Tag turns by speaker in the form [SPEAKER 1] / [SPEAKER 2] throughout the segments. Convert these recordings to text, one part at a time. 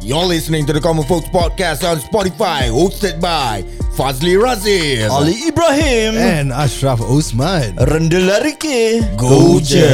[SPEAKER 1] You're listening to the Common Folks Podcast on Spotify, hosted by Fazli Razif.
[SPEAKER 2] Ali Ibrahim
[SPEAKER 3] And Ashraf Osman
[SPEAKER 2] Rendela Riki
[SPEAKER 1] Go je.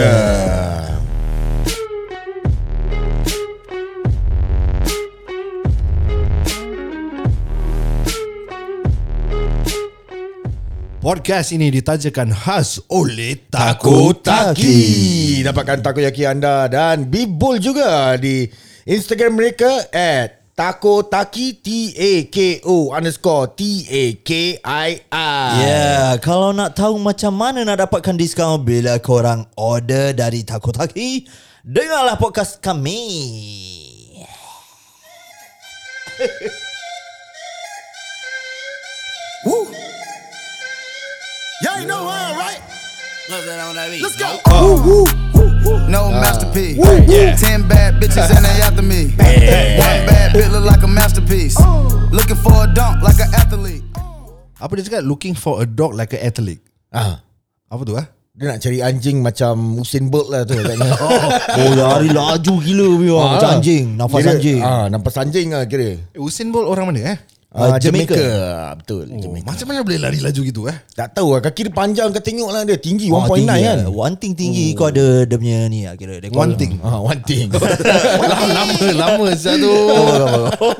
[SPEAKER 3] Podcast ini ditajakan khas oleh
[SPEAKER 1] Takotaki. Dapatkan takoyaki anda dan Bibul juga di Instagram mereka at Takotaki T-A-K-O underscore T-A-K-I-I.
[SPEAKER 2] Yeah, Ya, kalau nak tahu macam mana nak dapatkan diskaun bila korang order dari Takotaki, dengarlah podcast kami.
[SPEAKER 4] Woo. Y'all know how, right? Let's go. No masterpiece. Ten bad bitches and they after me. One bad bitch look like a masterpiece. Looking for a dunk like an athlete.
[SPEAKER 3] Apa dia cakap? Looking for a dog like an athlete
[SPEAKER 1] Ah,
[SPEAKER 3] Apa tu ah?
[SPEAKER 1] dia nak cari anjing macam Usain Bolt lah tu katanya.
[SPEAKER 2] Oh, lari laju gila biar
[SPEAKER 1] Ah.
[SPEAKER 2] Oh, macam anjing, nafas
[SPEAKER 1] Kira-
[SPEAKER 2] anjing.
[SPEAKER 1] Ah, nafas anjing lah kira.
[SPEAKER 3] Eh, Usain Bolt orang mana eh?
[SPEAKER 1] Ah,
[SPEAKER 2] Ah,
[SPEAKER 1] Jamaica.
[SPEAKER 2] Jamaica.
[SPEAKER 1] Ah, Betul.
[SPEAKER 3] Oh,
[SPEAKER 1] Jamaica.
[SPEAKER 3] macam mana boleh lari laju gitu eh?
[SPEAKER 1] Tak tahu lah kaki dia panjang kau tengok lah dia tinggi 1.9
[SPEAKER 2] Ah, tinggi
[SPEAKER 1] kan.
[SPEAKER 2] lah. One thing tinggi kau ada dia punya ni lah kira. Dia call
[SPEAKER 3] One
[SPEAKER 2] lah.
[SPEAKER 3] thing
[SPEAKER 1] Ah, one thing.
[SPEAKER 3] Lama,
[SPEAKER 1] lah,
[SPEAKER 3] lama, lama satu Oi,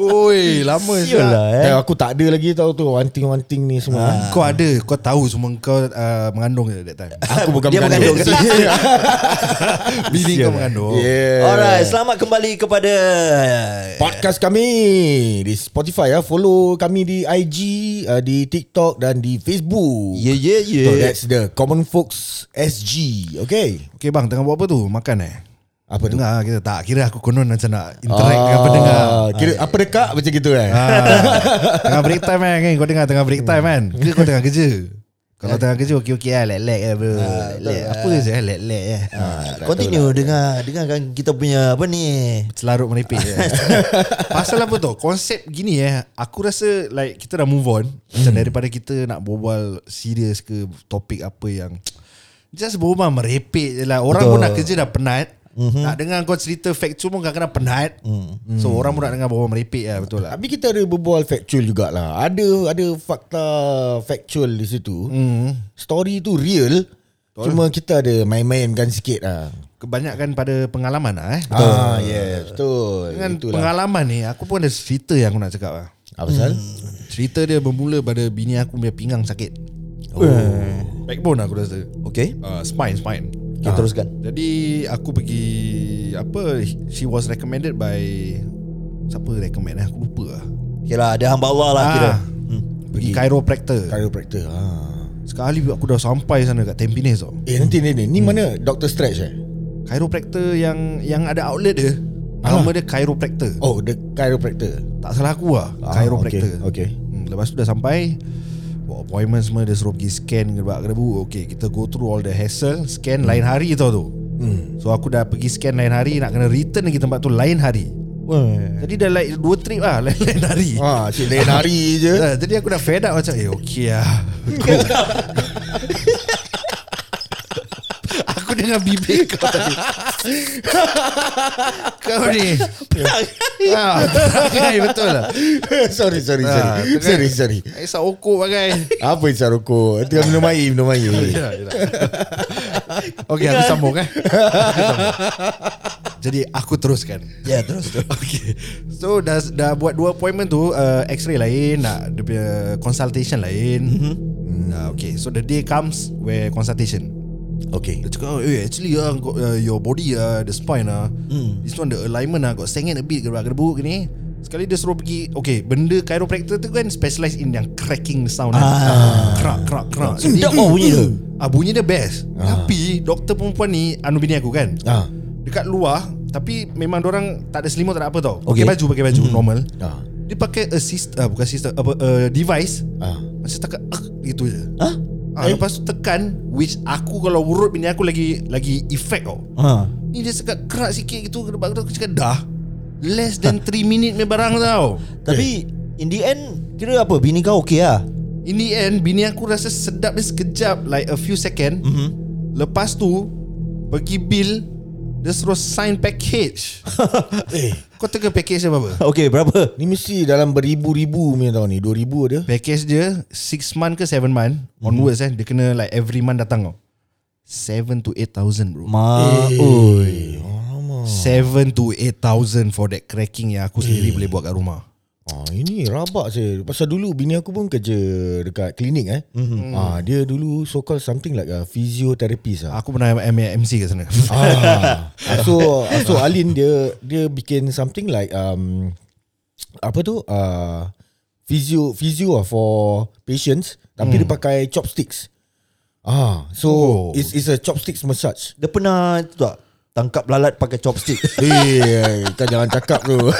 [SPEAKER 3] Oh, lama
[SPEAKER 2] Sial
[SPEAKER 3] satu
[SPEAKER 2] lah eh.
[SPEAKER 1] Eh, aku tak ada lagi tahu tu one thing one thing ni semua.
[SPEAKER 3] Kau ada, kau tahu semua kau uh, mengandung ke that time?
[SPEAKER 1] Aku bukan Ah,
[SPEAKER 2] Dia
[SPEAKER 1] mengandung.
[SPEAKER 3] Bini kau mengandung
[SPEAKER 1] yeah.
[SPEAKER 2] Alright, selamat kembali kepada
[SPEAKER 1] Podcast kami di Spotify ya, follow kami di IG, uh, di TikTok dan di Facebook.
[SPEAKER 2] Yeah, yeah,
[SPEAKER 1] So
[SPEAKER 2] yeah.
[SPEAKER 1] that's the Common Folks SG. Okay.
[SPEAKER 3] Okay bang, tengah buat apa tu? Makan eh?
[SPEAKER 1] Apa tu?
[SPEAKER 3] Dengar kita tak kira aku konon macam nak interact dengan pendengar
[SPEAKER 1] Ah, kira apa dekat macam gitu eh.
[SPEAKER 3] Ah, tengah break time kan, kan Kau dengar tengah break time kan Ke kau tengah kerja Kalau tengah kerja okey-okey lah Lek-lek lah bro Lek-lek. Apa je eh, lek-lek eh
[SPEAKER 2] Continue dengar dengarkan kita punya apa ni?
[SPEAKER 3] Selarut merepek je Pasal apa tu Konsep gini eh Aku rasa like Kita dah move on Macam daripada kita nak berbual Serius ke Topik apa yang Just berbual merepek je lah Orang Betul. pun nak kerja dah penat Mm-hmm. Nak dengar kau cerita factual pun kadang-kadang penat mm. So orang pun nak dengar bawa merepek lah Betul lah
[SPEAKER 1] Tapi kita ada berbual factual jugalah. Ada ada fakta factual di situ. Hmm. Story tu real. Cuma kita ada main-mainkan sikit lah.
[SPEAKER 3] Kebanyakan pada pengalaman lah eh
[SPEAKER 1] Betul. Ah, yes, betul.
[SPEAKER 3] Dengan
[SPEAKER 1] Itulah.
[SPEAKER 3] pengalaman ni Aku pun ada cerita yang aku nak cakap lah
[SPEAKER 1] Apa pasal?
[SPEAKER 3] Cerita dia bermula pada bini aku punya pinggang sakit oh. Backbone aku rasa
[SPEAKER 2] Okay.
[SPEAKER 3] uh, Spine, spine
[SPEAKER 2] Okay, teruskan.
[SPEAKER 3] Jadi aku pergi Apa She was recommended by Siapa recommend eh? Aku lupa lah
[SPEAKER 2] Okay lah, ada hamba Allah lah kira.
[SPEAKER 3] ah, Pergi chiropractor
[SPEAKER 1] Chiropractor. Ha.
[SPEAKER 3] Sekali aku dah sampai sana kat Tampines tau
[SPEAKER 1] Eh, nanti ni ni. Ni
[SPEAKER 3] Hmm.
[SPEAKER 1] mana? Dr. Stretch eh?
[SPEAKER 3] Chiropractor yang yang ada outlet dia Nama dia chiropractor
[SPEAKER 1] Oh, the chiropractor.
[SPEAKER 3] Tak salah aku lah Chiropractor
[SPEAKER 1] Ah, Okay. okay.
[SPEAKER 3] Hmm, lepas tu dah sampai Buat appointment semua Dia suruh pergi scan Gebak gerebu Okay kita go through all the hassle Scan lain hari tau tu hmm. So aku dah pergi scan lain hari Nak kena return lagi tempat tu lain hari Jadi dah like dua trip lah Lain-lain hari ha.
[SPEAKER 1] Ha, cik lain hari je.
[SPEAKER 3] Jadi aku dah fed up macam Eh okay lah Go. Aku dengar bibir kau tadi Kau ni ah, perangai Betul lah
[SPEAKER 1] sorry, sorry, sorry.
[SPEAKER 3] Ah,
[SPEAKER 1] sorry, sorry.
[SPEAKER 3] Aisyah okok bagai
[SPEAKER 1] Apa isap rokok? Tengah minum air, minum air.
[SPEAKER 3] Yelah, yelah. Okey, aku sambung eh. Aku sambung. Jadi aku teruskan.
[SPEAKER 2] Ya, yeah, terus terus.
[SPEAKER 3] Okay. So dah dah buat dua appointment tu, uh, x-ray lain, nak dia punya consultation lain.
[SPEAKER 2] Mhm.
[SPEAKER 3] Mm-hmm. Uh, okay, so the day comes where consultation.
[SPEAKER 1] Okay.
[SPEAKER 3] Dia cakap, oh, eh, actually uh, got, uh, your body, uh, the spine, uh, mm. this one the alignment uh, got sengit a bit, gerak-gerbuk ni. Sekali dia suruh pergi, okay, benda chiropractor tu kan specialised in yang cracking sound. Ah. Krak, krak, krak. Jadi-
[SPEAKER 2] Sedap oh bunyi tu.
[SPEAKER 3] Ah bunyi dia best. Ah. Tapi doktor perempuan ni anu bini aku kan.
[SPEAKER 1] Ah.
[SPEAKER 3] Dekat luar tapi memang orang tak ada selimut tak ada apa tau.
[SPEAKER 2] Okay.
[SPEAKER 3] Pakai baju pakai baju mm-hmm. normal.
[SPEAKER 1] Ah.
[SPEAKER 3] Dia pakai assist ah, bukan assist apa uh, device
[SPEAKER 1] Ah.
[SPEAKER 3] macam tekan ah, gitu je.
[SPEAKER 2] Ha?
[SPEAKER 3] Ah, lepas tu tekan which aku kalau urut bini aku lagi lagi effect tau.
[SPEAKER 2] Ha.
[SPEAKER 3] Ni dia sekat kerak sikit gitu kena aku cakap dah. Less than 3 minit punya barang tau.
[SPEAKER 2] Tapi in the end kira apa bini kau okey lah.
[SPEAKER 3] In the end Bini aku rasa sedap dia sekejap Like a few second mm-hmm. Lepas tu Pergi bill Dia suruh sign package
[SPEAKER 1] Eh,
[SPEAKER 3] Kau Kau tengok package dia berapa?
[SPEAKER 2] Okay berapa?
[SPEAKER 1] Ni mesti dalam beribu-ribu punya tahun ni 2000 ada
[SPEAKER 3] Package dia 6 month ke 7 month Onwards eh Dia kena like every month datang kau 7 to 8,000 bro
[SPEAKER 2] Ma oi.
[SPEAKER 3] 7 Oh. to 8,000 for that cracking yang aku sendiri boleh buat kat rumah
[SPEAKER 1] Ah ini rabak je. Pasal dulu bini aku pun kerja dekat klinik eh. Mm-hmm. Ah dia dulu so called something like a physiotherapist ah.
[SPEAKER 3] Aku pernah M- MC kat sana
[SPEAKER 1] ah. So so Alin dia dia bikin something like um apa tu uh, physio physio ah for patients tapi dia pakai chopsticks. Ah so
[SPEAKER 3] Oh.
[SPEAKER 1] oh. it's it's a chopsticks massage.
[SPEAKER 2] Dia pernah tu tak? Tangkap lalat pakai chopstick.
[SPEAKER 1] Eh, hey, kau jangan cakap tu.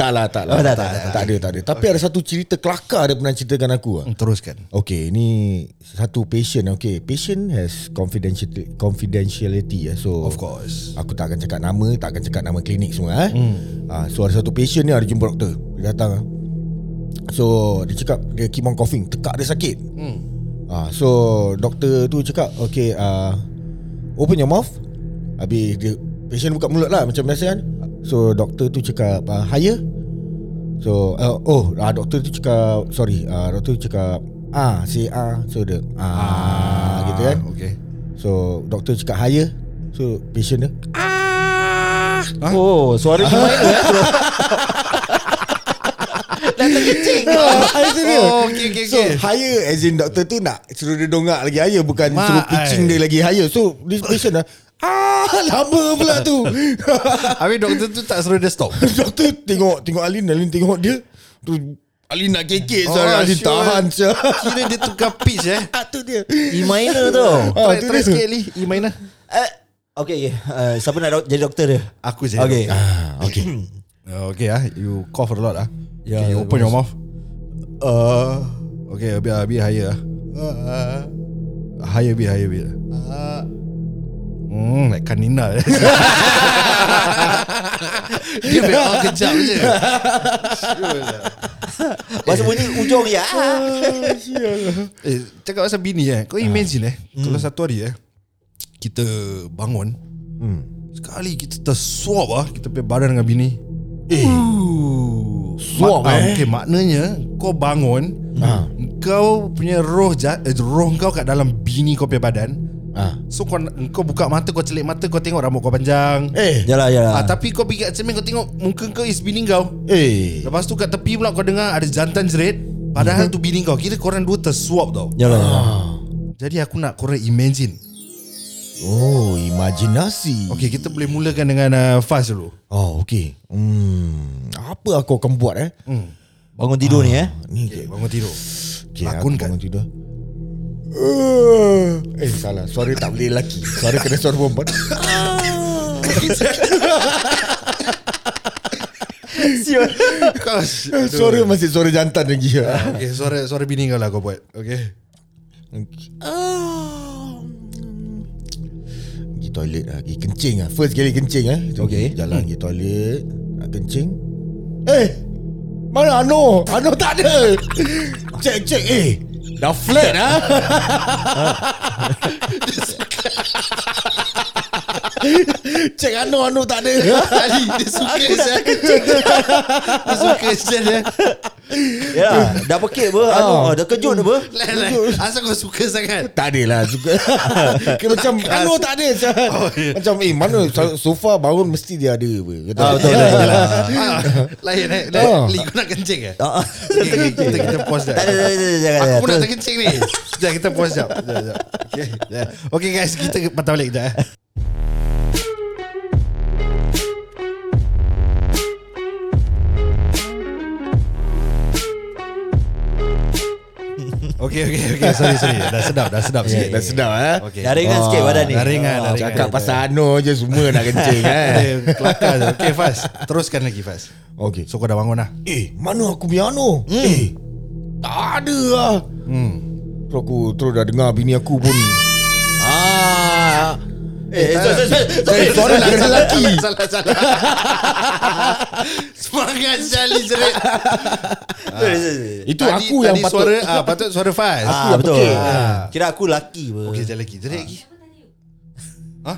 [SPEAKER 1] tak lah, tak lah.
[SPEAKER 2] Oh, tak,
[SPEAKER 1] tak,
[SPEAKER 2] tak, tak.
[SPEAKER 1] tak ada, tak ada. Tapi ada satu cerita kelakar dia pernah ceritakan aku ah.
[SPEAKER 3] Teruskan
[SPEAKER 1] Okay, ni satu patient. Okay, patient has confidentiality, confidentiality ya. So
[SPEAKER 3] Of course
[SPEAKER 1] Aku tak akan cakap nama, tak akan cakap nama klinik semua eh. Hmm. Ha, so ada satu patient ni ada jumpa doktor. Dia datang. ah. So dia cakap dia keep on coughing, tekak dia sakit. Hmm. Ha, so doktor tu cakap, okay, uh, open your mouth. Habis dia patient buka mulut lah macam biasa kan. So doktor tu cakap uh, higher. So uh, oh uh, doktor tu cakap sorry, uh, doktor tu cakap ah si ah so dia ah, ah gitu kan.
[SPEAKER 3] Okay
[SPEAKER 1] So doktor cakap higher. So patient dia
[SPEAKER 2] Oh, suara dia main tu eh. bro. Dah terkencing.
[SPEAKER 1] I serious.
[SPEAKER 3] Oh, okay, okay,
[SPEAKER 1] so
[SPEAKER 3] okay.
[SPEAKER 1] higher as in doktor tu nak suruh dia dongak lagi higher bukan
[SPEAKER 3] Mak,
[SPEAKER 1] suruh pitching
[SPEAKER 3] ai.
[SPEAKER 1] dia lagi higher. So this patient dah ah lama pula tu.
[SPEAKER 3] Habis doktor tu tak suruh dia stop
[SPEAKER 1] doktor tengok tengok Alin, Alin tengok dia. Tu Alin nak kekek oh,
[SPEAKER 3] Oh,
[SPEAKER 1] Alin
[SPEAKER 3] sure.
[SPEAKER 1] tahan sah.
[SPEAKER 3] Kira dia tukar pitch eh
[SPEAKER 1] Ah tu dia.
[SPEAKER 2] E minor tu.
[SPEAKER 1] Ah,
[SPEAKER 3] Try,
[SPEAKER 1] tu
[SPEAKER 3] try
[SPEAKER 1] dia.
[SPEAKER 3] sikit Lee E minor
[SPEAKER 2] Eh, okay, okay. Uh, siapa nak dok- jadi doktor dia?
[SPEAKER 3] Aku je
[SPEAKER 2] Okay.
[SPEAKER 1] Ah, okay.
[SPEAKER 3] Uh, okay ah, you cough a lot ah.
[SPEAKER 1] Ya,
[SPEAKER 2] Yeah,
[SPEAKER 3] Yeah, okay, you
[SPEAKER 2] that
[SPEAKER 3] open your mouth. Uh, okay, a bit, a bit higher ah. Uh, higher bit, higher bit. Hmm, like kanina. eh. Dia memang kejap je.
[SPEAKER 2] Bahasa bunyi ujung ya.
[SPEAKER 3] Eh, cakap pasal bini
[SPEAKER 1] Ah.
[SPEAKER 3] eh. Kau imagine eh,
[SPEAKER 1] Hmm.
[SPEAKER 3] kalau satu hari eh kita bangun.
[SPEAKER 1] Hmm.
[SPEAKER 3] Sekali kita tersuap ah, kita punya badan dengan bini.
[SPEAKER 1] Eh,
[SPEAKER 3] Mak,
[SPEAKER 1] suap
[SPEAKER 3] ah,
[SPEAKER 1] eh.
[SPEAKER 3] Okay, maknanya kau bangun,
[SPEAKER 1] Ah.
[SPEAKER 3] kau punya roh ja, eh, roh kau kat dalam bini kau punya badan.
[SPEAKER 1] Ah.
[SPEAKER 3] So kau kau buka mata, kau celik mata, kau tengok rambut kau panjang.
[SPEAKER 1] Eh.
[SPEAKER 2] Yalah, yalah.
[SPEAKER 3] Ah, tapi kau pergi kat cermin kau tengok muka kau is bini kau.
[SPEAKER 1] Eh.
[SPEAKER 3] Lepas tu kat tepi pula kau dengar ada jantan jerit.
[SPEAKER 1] Hmm.
[SPEAKER 3] Padahal tu bini kau. Kira korang dua tersuap tau.
[SPEAKER 2] Yalah, yalah.
[SPEAKER 3] Jadi aku nak korang imagine.
[SPEAKER 1] Oh, imajinasi.
[SPEAKER 3] Okay, kita boleh mulakan dengan uh, fast dulu.
[SPEAKER 1] Oh, okay. Hmm. Apa aku akan buat eh? Ah,
[SPEAKER 2] Bangun tidur ni eh.
[SPEAKER 1] Ni
[SPEAKER 3] Okay, bangun tidur.
[SPEAKER 1] Okay,
[SPEAKER 3] Lakon
[SPEAKER 1] aku
[SPEAKER 3] kan?
[SPEAKER 1] bangun tidur. Uh, eh salah Suara tak boleh lelaki Suara kena suara perempuan
[SPEAKER 3] Kau,
[SPEAKER 1] Suara masih suara jantan lagi
[SPEAKER 3] Okay, suara suara bini kau lah kau buat. Okay.
[SPEAKER 1] Pergi toilet lah Pergi kencing lah First kali kencing lah
[SPEAKER 2] Okay.
[SPEAKER 1] Jalan pergi toilet Nak kencing Eh Mana Ano Ano tak ada Check check Eh Dah flat lah Check Ano Ano tak ada
[SPEAKER 3] Ali, dia suka saya. Dia suka saya.
[SPEAKER 2] Ya, dah pekik apa? Anu,
[SPEAKER 1] Ah.
[SPEAKER 2] dah kejut apa?
[SPEAKER 3] Asal kau suka sangat?
[SPEAKER 1] Tak ada lah suka. Kira macam Ano tak ada macam, oh, yeah. macam eh mana so- sofa bangun mesti dia ada apa. Kata,
[SPEAKER 2] Ah, betul, betul, betul.
[SPEAKER 3] Ah, Lain eh.
[SPEAKER 1] Ah.
[SPEAKER 3] Li, kau nak kencing ke?
[SPEAKER 2] Ah, ah.
[SPEAKER 3] Okay, okay, kita, kita pause dah.
[SPEAKER 2] Tak ada, tak ada, tak
[SPEAKER 1] Ya,
[SPEAKER 2] ada.
[SPEAKER 3] Aku pun nak
[SPEAKER 2] Terus.
[SPEAKER 3] terkencing ni. Sekejap, kita pause sekejap. Sekejap, sekejap. Okay, sekejap. okay guys, kita patah balik sekejap. eh. Okay, okay, okay. Sorry, sorry. Dah sedap, dah sedap sikit.
[SPEAKER 1] Dah sedap eh. Ah,
[SPEAKER 3] Okay.
[SPEAKER 2] Dah ringan sikit badan ni.
[SPEAKER 3] Dah ringan, dah ringan.
[SPEAKER 1] Oh, Cakap pasal Ano je semua nak kencing eh.
[SPEAKER 3] Eh, Kelakar je. Okay, Faz. Teruskan lagi, Faz.
[SPEAKER 1] Okey.
[SPEAKER 3] So, kau dah bangun lah.
[SPEAKER 1] Eh, mana aku punya Ano? Eh, tak ada lah.
[SPEAKER 3] Hmm.
[SPEAKER 1] Terus aku terus dah dengar bini aku pun. ah.
[SPEAKER 2] Eh, eh, sorry, sorry, sorry.
[SPEAKER 1] Eh, suara nak kena lelaki.
[SPEAKER 3] Salah, salah. Semangat Jali jerit.
[SPEAKER 2] Sorry, sorry, sorry.
[SPEAKER 1] Itu aku yang patut.
[SPEAKER 3] suara, ah, patut suara Faz.
[SPEAKER 2] Ah,
[SPEAKER 1] yang
[SPEAKER 2] betul.
[SPEAKER 1] pekik.
[SPEAKER 2] Ah. Kira aku laki apa.
[SPEAKER 3] Okey, jerit lagi. Jerit lagi. Ha?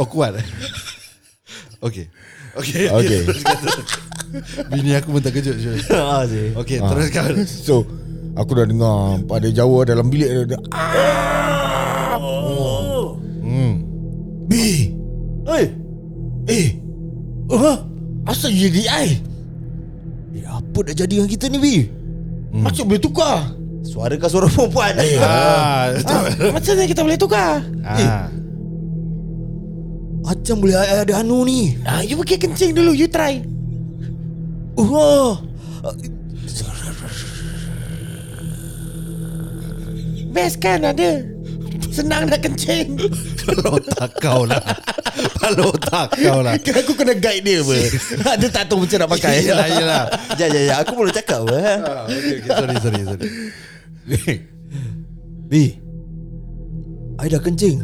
[SPEAKER 3] Oh kuat eh? Okay Okay,
[SPEAKER 1] Okay.
[SPEAKER 3] teruskan, teruskan. Bini aku pun terkejut Syul.
[SPEAKER 2] Ah, Zee.
[SPEAKER 3] Okay teruskan
[SPEAKER 1] So Aku dah dengar Pada Jawa dalam bilik dia, dia, ah,
[SPEAKER 2] Oh.
[SPEAKER 1] Hmm. B
[SPEAKER 2] Oi.
[SPEAKER 1] Eh
[SPEAKER 2] Huh?
[SPEAKER 1] Asal you jadi I
[SPEAKER 2] Eh, apa dah jadi dengan kita ni, Bi?
[SPEAKER 1] hmm. Macam boleh tukar
[SPEAKER 2] Suara kau suara perempuan.
[SPEAKER 1] Eh,
[SPEAKER 3] Ah, betul.
[SPEAKER 1] Macam mana kita boleh tukar Eh
[SPEAKER 3] Ah.
[SPEAKER 2] Macam boleh ada, ada anu ni.
[SPEAKER 1] ah, You pergi kencing dulu You try
[SPEAKER 2] Oh.
[SPEAKER 1] Best kan ada Senang nak kencing
[SPEAKER 3] Kalau tak kau lah Kalau tak kau lah
[SPEAKER 1] Aku kena guide dia apa Dia tak tahu macam nak pakai
[SPEAKER 3] Yelah yelah
[SPEAKER 2] Ya, ya, ya. Aku boleh cakap apa? eh?
[SPEAKER 3] ah, okay, okay. Sorry sorry sorry
[SPEAKER 2] Bi. I dah kencing.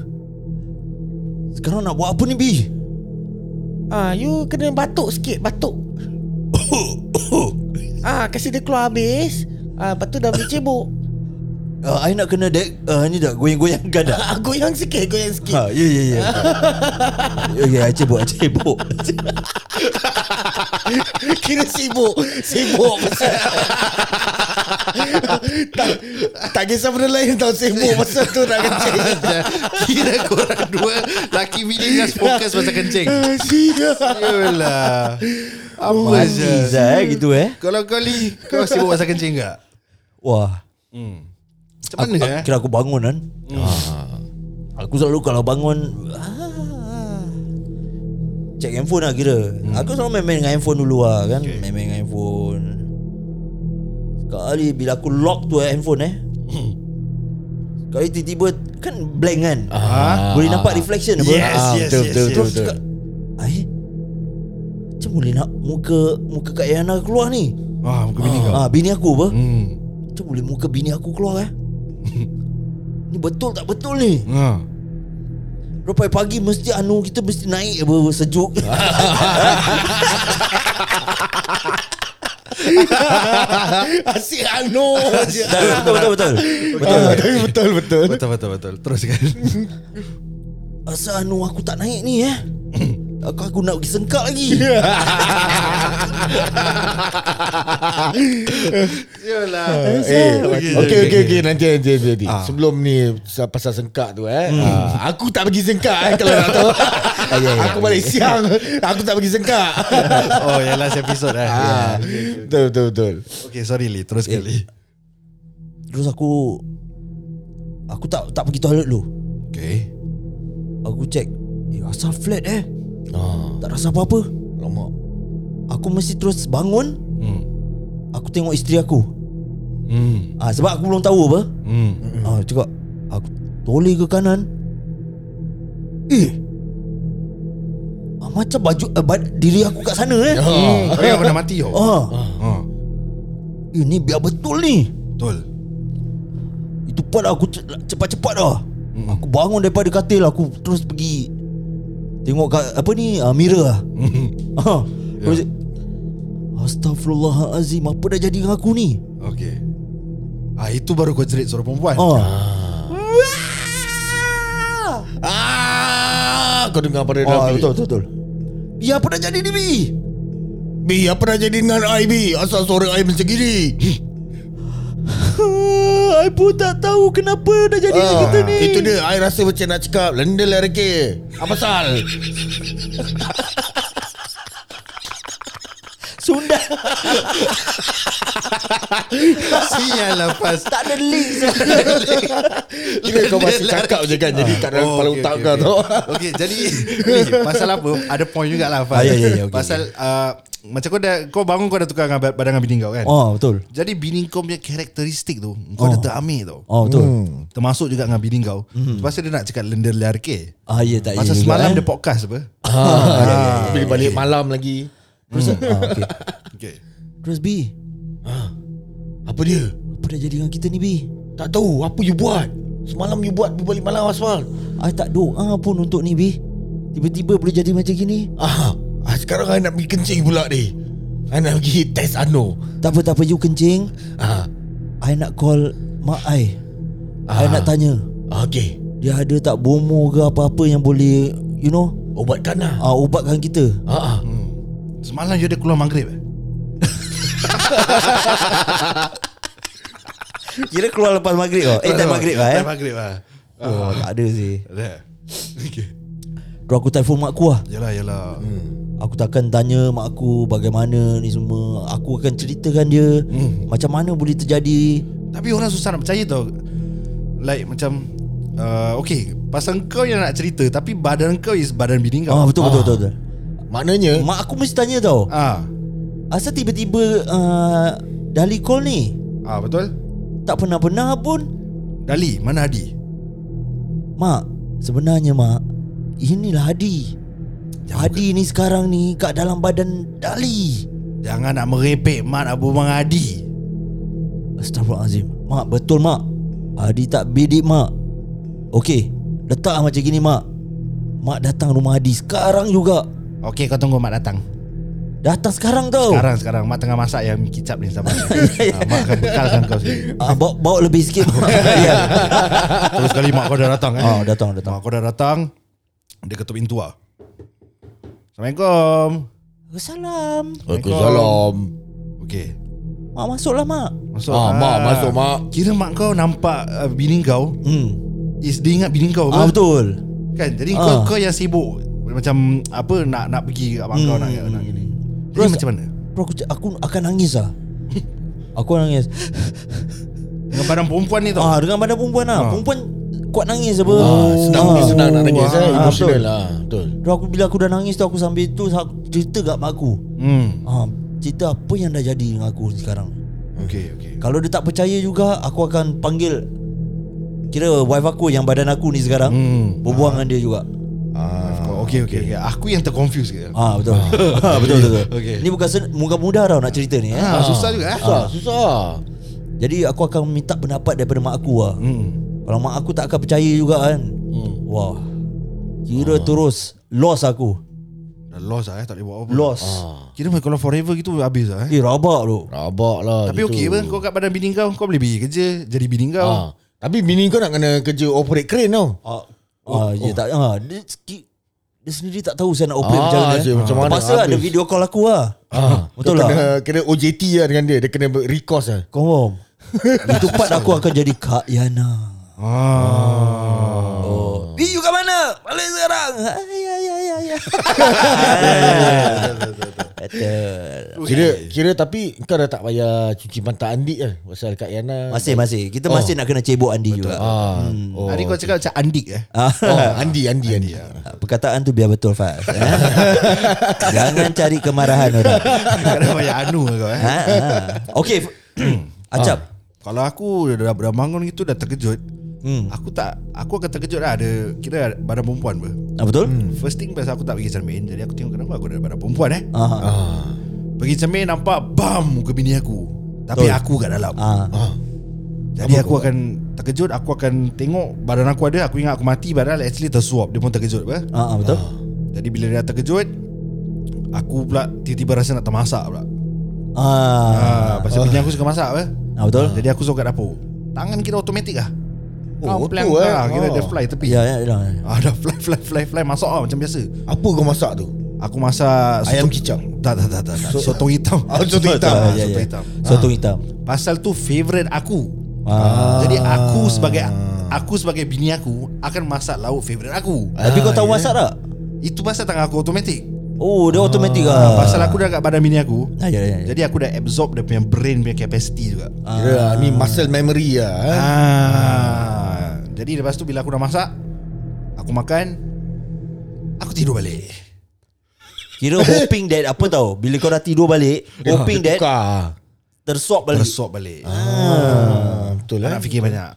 [SPEAKER 2] Sekarang nak buat apa ni, Bi?
[SPEAKER 1] Ah, you kena batuk sikit, batuk. ah, kasi dia keluar habis. Ah, lepas tu dah boleh cebok.
[SPEAKER 2] Uh, I nak kena dek uh, Ni dah goyang-goyang gadak
[SPEAKER 1] Ah, goyang sikit, goyang sikit.
[SPEAKER 2] Ha, ya ya ya. Ya ya, cebok cebok.
[SPEAKER 1] Kira sibuk, sibuk. pasal. tak, tak kisah benda lain tau sibuk masa tu nak kencing.
[SPEAKER 3] Kira korang dua Laki bini just fokus pasal kencing
[SPEAKER 1] Sida.
[SPEAKER 3] Yelah Apa
[SPEAKER 2] Mati
[SPEAKER 3] je
[SPEAKER 2] Zah eh gitu eh.
[SPEAKER 3] Kalau kau Lee Kau sibuk pasal kencing tak?
[SPEAKER 2] Wah,
[SPEAKER 3] Macam
[SPEAKER 2] aku,
[SPEAKER 3] mana
[SPEAKER 2] aku,
[SPEAKER 3] eh?
[SPEAKER 2] kira aku bangun kan.
[SPEAKER 3] Hmm.
[SPEAKER 2] Aku selalu kalau bangun ah, check handphone lah kira.
[SPEAKER 3] Hmm.
[SPEAKER 2] Aku selalu main-main dengan handphone dulu lah kan. Main-main dengan handphone. Sekali bila aku lock tu eh, handphone eh.
[SPEAKER 3] Hmm.
[SPEAKER 2] Sekali tiba-tiba kan blank kan.
[SPEAKER 3] Ah.
[SPEAKER 2] Boleh nampak reflection apa?
[SPEAKER 3] Yes,
[SPEAKER 2] Ah,
[SPEAKER 3] yes,
[SPEAKER 2] betul,
[SPEAKER 3] yes,
[SPEAKER 2] betul,
[SPEAKER 3] yes.
[SPEAKER 2] betul, betul. Aku cakap, "Ai, macam boleh nak muka muka Kak Yana keluar ni?
[SPEAKER 3] Wah muka bini kau
[SPEAKER 2] Ah, bini aku apa?
[SPEAKER 3] Hmm
[SPEAKER 2] Macam boleh muka bini aku keluar eh? ni betul tak betul ni?
[SPEAKER 3] Ah.
[SPEAKER 2] Lepas pagi mesti anu kita mesti naik apa sejuk.
[SPEAKER 1] Asyik anu je.
[SPEAKER 2] betul betul betul.
[SPEAKER 3] Betul,
[SPEAKER 1] Ah,
[SPEAKER 3] betul.
[SPEAKER 1] tapi betul, betul.
[SPEAKER 3] Betul betul betul Teruskan
[SPEAKER 2] Asal anu aku tak naik ni eh? Aku aku nak pergi sengkak lagi.
[SPEAKER 1] Ya.
[SPEAKER 3] Yalah
[SPEAKER 1] Eh,
[SPEAKER 3] okey,
[SPEAKER 1] okey
[SPEAKER 3] okey,
[SPEAKER 1] okey okey Ah. nanti nanti nanti. nanti. Sebelum ni sa- pasal sengkak tu eh. ah, aku tak pergi sengkak eh kalau nak tahu. aku balik siang. Aku tak pergi sengkak.
[SPEAKER 3] Oh yang last episode eh
[SPEAKER 1] ah, betul betul betul.
[SPEAKER 3] Okay sorry Lee Teruskan Lee
[SPEAKER 2] Terus aku aku tak tak pergi toilet dulu.
[SPEAKER 3] Okay
[SPEAKER 2] Aku check Eh asal flat eh
[SPEAKER 1] Ah.
[SPEAKER 2] Tak rasa apa-apa
[SPEAKER 1] Lama.
[SPEAKER 2] Aku mesti terus bangun
[SPEAKER 3] Hmm
[SPEAKER 2] Aku tengok isteri aku
[SPEAKER 3] Hmm
[SPEAKER 2] ah, Sebab aku belum tahu apa
[SPEAKER 3] Hmm
[SPEAKER 2] ah, Cakap Aku toleh ke kanan Eh ah, Macam baju eh, ba- Diri aku kat sana eh
[SPEAKER 3] Oh, kau yang pernah mati yo.
[SPEAKER 2] ah,
[SPEAKER 3] Ah,
[SPEAKER 2] eh, Ni biar betul ni
[SPEAKER 3] betul.
[SPEAKER 2] Itu part lah aku ce- cepat-cepat dah
[SPEAKER 3] Hmm.
[SPEAKER 2] Aku bangun daripada katil Aku terus pergi Tengok kat apa ni uh, Mirror lah
[SPEAKER 3] Hmm.
[SPEAKER 2] ha.
[SPEAKER 3] Ya.
[SPEAKER 2] Terus Astaghfirullahalazim Apa dah jadi dengan aku ni
[SPEAKER 3] Okey. Ah itu baru kau jerit suara perempuan.
[SPEAKER 2] ha.
[SPEAKER 1] Ah, kau dengar pada
[SPEAKER 2] Ah,
[SPEAKER 1] dalam bilik.
[SPEAKER 2] betul, betul betul Ya apa dah jadi ni Bi
[SPEAKER 1] B, apa dah jadi dengan I B? Asal suara I macam gini.
[SPEAKER 2] I pun tak tahu Kenapa dah jadi
[SPEAKER 1] Ah,
[SPEAKER 2] kita ni
[SPEAKER 1] Itu dia I rasa macam nak cakap Lenda lah reka Apa sal
[SPEAKER 2] Sunda
[SPEAKER 3] Sial lah pas.
[SPEAKER 2] Tak ada link
[SPEAKER 1] Kira kau masih
[SPEAKER 3] Lenda lah
[SPEAKER 1] cakap je kan Jadi tak ada kepala
[SPEAKER 3] Oh, okey,
[SPEAKER 1] otak
[SPEAKER 3] okey,
[SPEAKER 1] kau
[SPEAKER 3] okey.
[SPEAKER 1] tau
[SPEAKER 3] Okey, jadi ni, pasal apa? Ada point juga lah Fas.
[SPEAKER 2] Ah, ya, ya, ya, okey,
[SPEAKER 3] pasal uh, macam kau dah kau bangun kau dah tukar dengan ba- badangan bini kau kan?
[SPEAKER 2] Oh betul
[SPEAKER 3] Jadi bini kau punya karakteristik tu kau dah terambil tau.
[SPEAKER 2] Oh betul Hmm.
[SPEAKER 3] Termasuk juga dengan bini kau. Pasal dia nak cakap lender larke.
[SPEAKER 2] Ah ya tak ya Ah.
[SPEAKER 3] Pasal
[SPEAKER 2] juga,
[SPEAKER 3] semalam
[SPEAKER 2] eh.
[SPEAKER 3] dia podcast apa?
[SPEAKER 1] Bila balik malam lagi
[SPEAKER 2] Terus ah, okay.
[SPEAKER 3] Okey.
[SPEAKER 2] Terus Bi
[SPEAKER 1] Apa dia
[SPEAKER 2] Apa dah jadi dengan kita ni Bi
[SPEAKER 1] Tak tahu Apa you buat Semalam you buat You balik malam asal
[SPEAKER 2] I tak doa pun untuk ni Bi Tiba-tiba boleh jadi macam gini
[SPEAKER 1] ah, ah, Sekarang I nak pergi kencing pula ni I nak pergi test Ano
[SPEAKER 2] Tak apa tak apa you kencing
[SPEAKER 1] ah,
[SPEAKER 2] I nak call mak I
[SPEAKER 1] Ah.
[SPEAKER 2] I nak tanya
[SPEAKER 1] Okay
[SPEAKER 2] Dia ada tak bomo ke apa-apa yang boleh you know
[SPEAKER 1] Ubatkan lah
[SPEAKER 2] uh, ubatkan kita.
[SPEAKER 1] ah. ah.
[SPEAKER 3] Semalam you ada keluar maghrib eh?
[SPEAKER 2] Kira keluar lepas maghrib oh. Eh time maghrib lah eh.
[SPEAKER 3] Time maghrib lah
[SPEAKER 2] Oh, tak ada sih.
[SPEAKER 3] Ada Okay
[SPEAKER 2] Terus aku telefon mak aku lah.
[SPEAKER 3] Yalah yalah
[SPEAKER 2] Aku takkan tanya mak aku bagaimana ni semua. Aku akan ceritakan dia
[SPEAKER 3] Hmm.
[SPEAKER 2] macam mana boleh terjadi.
[SPEAKER 3] Tapi orang susah nak percaya tau Like macam uh, Okay Pasal kau yang nak cerita Tapi badan kau is badan bini kau
[SPEAKER 2] Ah betul betul
[SPEAKER 1] Ah.
[SPEAKER 2] betul. betul.
[SPEAKER 1] Maknanya
[SPEAKER 2] Mak aku mesti tanya tau.
[SPEAKER 3] Ah,
[SPEAKER 2] Asal tiba-tiba uh, Dali call ni?
[SPEAKER 3] ah betul
[SPEAKER 2] Tak pernah-pernah pun.
[SPEAKER 3] Dali mana Hadi
[SPEAKER 2] Mak, sebenarnya mak, inilah Hadi.
[SPEAKER 3] Ya,
[SPEAKER 2] Hadi ni sekarang ni kat dalam badan Dali.
[SPEAKER 3] Jangan nak merepek Mat Abu Bang Hadi
[SPEAKER 2] Astagfirullahalazim. Mak, betul mak. Hadi tak bidik mak. Okey, letak macam gini mak. Mak datang rumah Hadi sekarang juga.
[SPEAKER 3] Okay kau tunggu Mat datang
[SPEAKER 2] Datang
[SPEAKER 1] Oh.
[SPEAKER 2] sekarang tau.
[SPEAKER 3] Sekarang sekarang Mak tengah masak yang kicap ni sama ah, Mak akan bekalkan kau sekali
[SPEAKER 2] Ah, bawa, bawa lebih sikit mak. Ya.
[SPEAKER 3] Terus sekali Mak kau dah datang eh
[SPEAKER 1] Oh.
[SPEAKER 2] Ah, datang, datang.
[SPEAKER 3] Mak kau dah datang Dia ketuk pintu lah Assalamualaikum
[SPEAKER 2] Salam.
[SPEAKER 1] Waalaikumsalam
[SPEAKER 3] Okay
[SPEAKER 2] Mak masuklah mak.
[SPEAKER 3] Masuk
[SPEAKER 1] Ah, Mak, masuk, Mak.
[SPEAKER 3] Kira mak kau nampak uh, bini kau
[SPEAKER 2] Hmm.
[SPEAKER 3] Is dia ingat bini kau
[SPEAKER 2] Ah
[SPEAKER 3] apa?
[SPEAKER 2] betul.
[SPEAKER 3] Kan jadi
[SPEAKER 2] Ah.
[SPEAKER 3] kau, kau yang sibuk Macam apa nak nak pergi kat mak kau nak, nak gini Jadi
[SPEAKER 2] Hmm, Terus-
[SPEAKER 3] macam mana?
[SPEAKER 2] Bro aku, aku akan nangis lah Aku akan nangis
[SPEAKER 3] Dengan badan perempuan ni tau
[SPEAKER 2] ah, Dengan badan perempuan lah
[SPEAKER 3] Ah.
[SPEAKER 2] Perempuan kuat nangis apa
[SPEAKER 1] ah, Senang ni senang nak nangis eh
[SPEAKER 2] ah,
[SPEAKER 1] Emotional
[SPEAKER 2] betul.
[SPEAKER 1] lah Betul
[SPEAKER 2] Terus aku bila aku dah nangis tu Aku sambil tu aku cerita kat mak aku
[SPEAKER 3] Hmm
[SPEAKER 2] ah, Cerita apa yang dah jadi dengan aku sekarang
[SPEAKER 3] Okay okay
[SPEAKER 2] Kalau dia tak percaya juga Aku akan panggil Kira wife aku yang badan aku ni sekarang
[SPEAKER 3] Hmm.
[SPEAKER 2] Berbuang dengan dia juga
[SPEAKER 3] ah, okay, okay, okay, Aku yang terconfuse ke Ha,
[SPEAKER 2] Ah betul. Ah, betul betul. betul.
[SPEAKER 3] Okay.
[SPEAKER 2] Ni bukan sen- bukan mudah tau nak cerita ni eh.
[SPEAKER 3] ah, Susah juga eh
[SPEAKER 1] Susah Susah
[SPEAKER 2] Jadi aku akan minta pendapat daripada mak aku lah
[SPEAKER 3] Hmm.
[SPEAKER 2] Kalau mak aku tak akan percaya juga kan Wah
[SPEAKER 3] Ah.
[SPEAKER 2] Kira terus Loss aku
[SPEAKER 3] Dah lost lah eh Tak boleh buat apa
[SPEAKER 2] Loss
[SPEAKER 3] Ah. Kira macam kalau forever gitu habis lah eh
[SPEAKER 2] Eh rabak tu
[SPEAKER 1] Rabak lah
[SPEAKER 3] Tapi
[SPEAKER 1] gitu.
[SPEAKER 3] okey apa Kau kat badan bini kau Kau boleh pergi kerja Jadi bini kau
[SPEAKER 1] ah. Tapi bini kau nak kena kerja operate crane tau
[SPEAKER 2] ah,
[SPEAKER 1] Oh,
[SPEAKER 2] ah, dia tak ah, dia, ski- dia sendiri tak tahu saya nak operate
[SPEAKER 1] Ah,
[SPEAKER 2] macam mana eh.
[SPEAKER 1] asyik, macam mana,
[SPEAKER 2] Terpaksa ada
[SPEAKER 1] habis.
[SPEAKER 2] video call aku lah
[SPEAKER 1] Ah, kau
[SPEAKER 2] Betul lah
[SPEAKER 1] Kena, kena OJT lah dengan dia Dia kena recourse lah
[SPEAKER 2] Confirm Itu part aku akan jadi Kak Yana
[SPEAKER 3] Ah.
[SPEAKER 2] Oh. Eh, you kat mana? Balik sekarang. Ay, ay, ay, ay. ay. Betul.
[SPEAKER 1] Kira kira tapi kau dah tak payah cuci pantat andik lah Pasal Kak Yana
[SPEAKER 2] Masih, masih.
[SPEAKER 1] Oh.
[SPEAKER 2] Kita masih nak kena cebok Andi juga. Ah,
[SPEAKER 1] ah. oh.
[SPEAKER 3] Hari kau cakap macam andik eh
[SPEAKER 1] oh, Andi Andi Andi, Andi.
[SPEAKER 2] Perkataan tu biar betul Faz Eh? Jangan cari kemarahan orang
[SPEAKER 3] Kadang banyak anu lah kau eh
[SPEAKER 2] ha? ha. Okay F- Acap
[SPEAKER 3] Kalau aku dah, dah bangun gitu Dah terkejut
[SPEAKER 2] hmm.
[SPEAKER 3] Aku tak Aku akan terkejut lah Ada Kira ada badan perempuan apa
[SPEAKER 2] ah, Betul?
[SPEAKER 1] Hmm.
[SPEAKER 3] First thing pasal aku tak pergi cermin Jadi aku tengok kenapa aku ada badan perempuan eh
[SPEAKER 2] Ah.
[SPEAKER 3] Pergi cermin nampak Bam Muka bini aku Tapi
[SPEAKER 2] Betul.
[SPEAKER 3] aku kat dalam
[SPEAKER 2] Ah.
[SPEAKER 3] Jadi aku akan Terkejut Aku akan tengok Badan aku ada Aku ingat aku mati Padahal actually tersuap Dia pun terkejut apa
[SPEAKER 2] Ah. ah, Betul?
[SPEAKER 3] Jadi bila dia terkejut Aku pula Tiba-tiba rasa nak termasak pula
[SPEAKER 2] Ah.
[SPEAKER 3] Ah, Pasal bini aku suka masak apa
[SPEAKER 2] Ah, betul?
[SPEAKER 3] Jadi aku suruh kat dapur Tangan kita automatik lah
[SPEAKER 1] Oh,
[SPEAKER 3] Kau
[SPEAKER 1] betul
[SPEAKER 3] plank
[SPEAKER 1] eh.
[SPEAKER 3] lah Kira
[SPEAKER 1] Ah.
[SPEAKER 3] dia fly tepi
[SPEAKER 2] Ya, ya, ya.
[SPEAKER 3] Ah, dah fly fly fly fly masuk lah macam biasa.
[SPEAKER 1] Apa kau masak tu?
[SPEAKER 3] Aku masak
[SPEAKER 1] Ayam
[SPEAKER 3] sotong-
[SPEAKER 1] kicap.
[SPEAKER 3] Tak tak tak tak. tak. Sotong hitam.
[SPEAKER 1] Ah, sotong hitam.
[SPEAKER 3] Ah,
[SPEAKER 2] Ah, ya,
[SPEAKER 3] Sotong
[SPEAKER 2] ya.
[SPEAKER 3] hitam.
[SPEAKER 2] Sotong hitam
[SPEAKER 3] Pasal tu favorite aku.
[SPEAKER 2] Ah.
[SPEAKER 3] Jadi aku sebagai aku sebagai bini aku akan masak lauk favorite aku.
[SPEAKER 2] Tapi kau
[SPEAKER 1] ya.
[SPEAKER 2] tahu masak tak?
[SPEAKER 3] Itu pasal tangan aku automatik.
[SPEAKER 2] Oh, dia automatik
[SPEAKER 3] Ah,
[SPEAKER 2] ah.
[SPEAKER 3] pasal aku dah kat badan bini aku.
[SPEAKER 2] Ah, ya, ya, ya.
[SPEAKER 3] Jadi aku dah absorb dia punya brain punya capacity juga.
[SPEAKER 1] Kira ni muscle memory lah eh?
[SPEAKER 3] Ah. Jadi lepas tu bila aku dah masak, aku makan, aku tidur balik.
[SPEAKER 2] Kira hoping that apa tau Bila kau dah tidur balik
[SPEAKER 1] Ya,
[SPEAKER 2] Hoping that
[SPEAKER 1] Tukar
[SPEAKER 2] Tersuap balik
[SPEAKER 3] Tersuap balik.
[SPEAKER 1] ah, Betul
[SPEAKER 3] Tak
[SPEAKER 1] lah
[SPEAKER 3] nak fikir banyak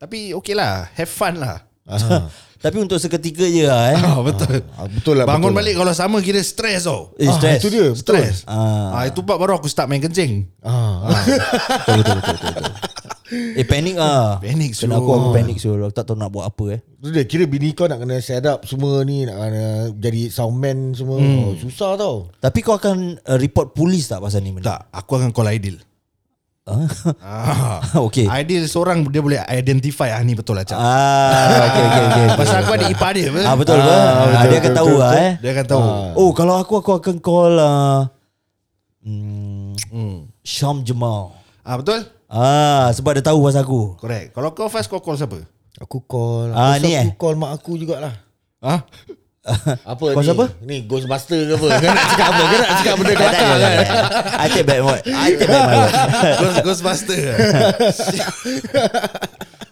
[SPEAKER 3] Tapi okey lah Have fun lah
[SPEAKER 2] Tapi untuk seketika je lah eh
[SPEAKER 3] ah, Betul
[SPEAKER 1] ah, Betul lah
[SPEAKER 3] Bangun
[SPEAKER 1] betul
[SPEAKER 3] balik kalau sama Kira stres tau
[SPEAKER 2] Eh,
[SPEAKER 1] lah. ah,
[SPEAKER 2] stress
[SPEAKER 1] Itu dia betul.
[SPEAKER 3] Stres
[SPEAKER 2] Ah.
[SPEAKER 3] ah. Itu part baru aku start main kencing
[SPEAKER 1] ah.
[SPEAKER 2] Betul betul betul betul. betul. Eh panik ah.
[SPEAKER 3] Panic,
[SPEAKER 2] Kena
[SPEAKER 3] Zul.
[SPEAKER 2] aku aku panik Zul. Aku tak tahu nak buat apa eh.
[SPEAKER 1] Itu dia Kira bini kau nak kena set up semua ni Nak kena jadi soundman semua oh, Susah tau
[SPEAKER 2] Tapi kau akan uh, report polis tak pasal ni benda?
[SPEAKER 3] Tak Aku akan call Aidil Ah.
[SPEAKER 2] Okay.
[SPEAKER 3] Ideal seorang dia boleh identify ah ni betul lah cak.
[SPEAKER 2] Eh. Ah, okay, okay, okay. okay.
[SPEAKER 3] Pasal aku ada ipar dia. apa?
[SPEAKER 2] Ah betul ah, betul. Ah, dia akan tahu lah eh.
[SPEAKER 3] Dia akan tahu.
[SPEAKER 2] Oh kalau aku aku akan call uh, hmm, Syam Jamal.
[SPEAKER 3] Ah betul?
[SPEAKER 2] Ah sebab dia tahu pasal aku.
[SPEAKER 3] Correct. Kalau kau first kau call siapa?
[SPEAKER 1] Aku call
[SPEAKER 2] Ah,
[SPEAKER 1] aku
[SPEAKER 2] ni
[SPEAKER 1] rasa aku
[SPEAKER 2] eh?
[SPEAKER 1] call mak aku jugalah
[SPEAKER 3] Ah.
[SPEAKER 1] Apa
[SPEAKER 2] Kau
[SPEAKER 1] ni?
[SPEAKER 2] siapa?
[SPEAKER 1] Ni Ghostbuster ke apa Kau nak cakap apa Kau nak cakap benda kelakar kan
[SPEAKER 2] I take back what. I take back my word.
[SPEAKER 3] Ghost, Ghostbuster.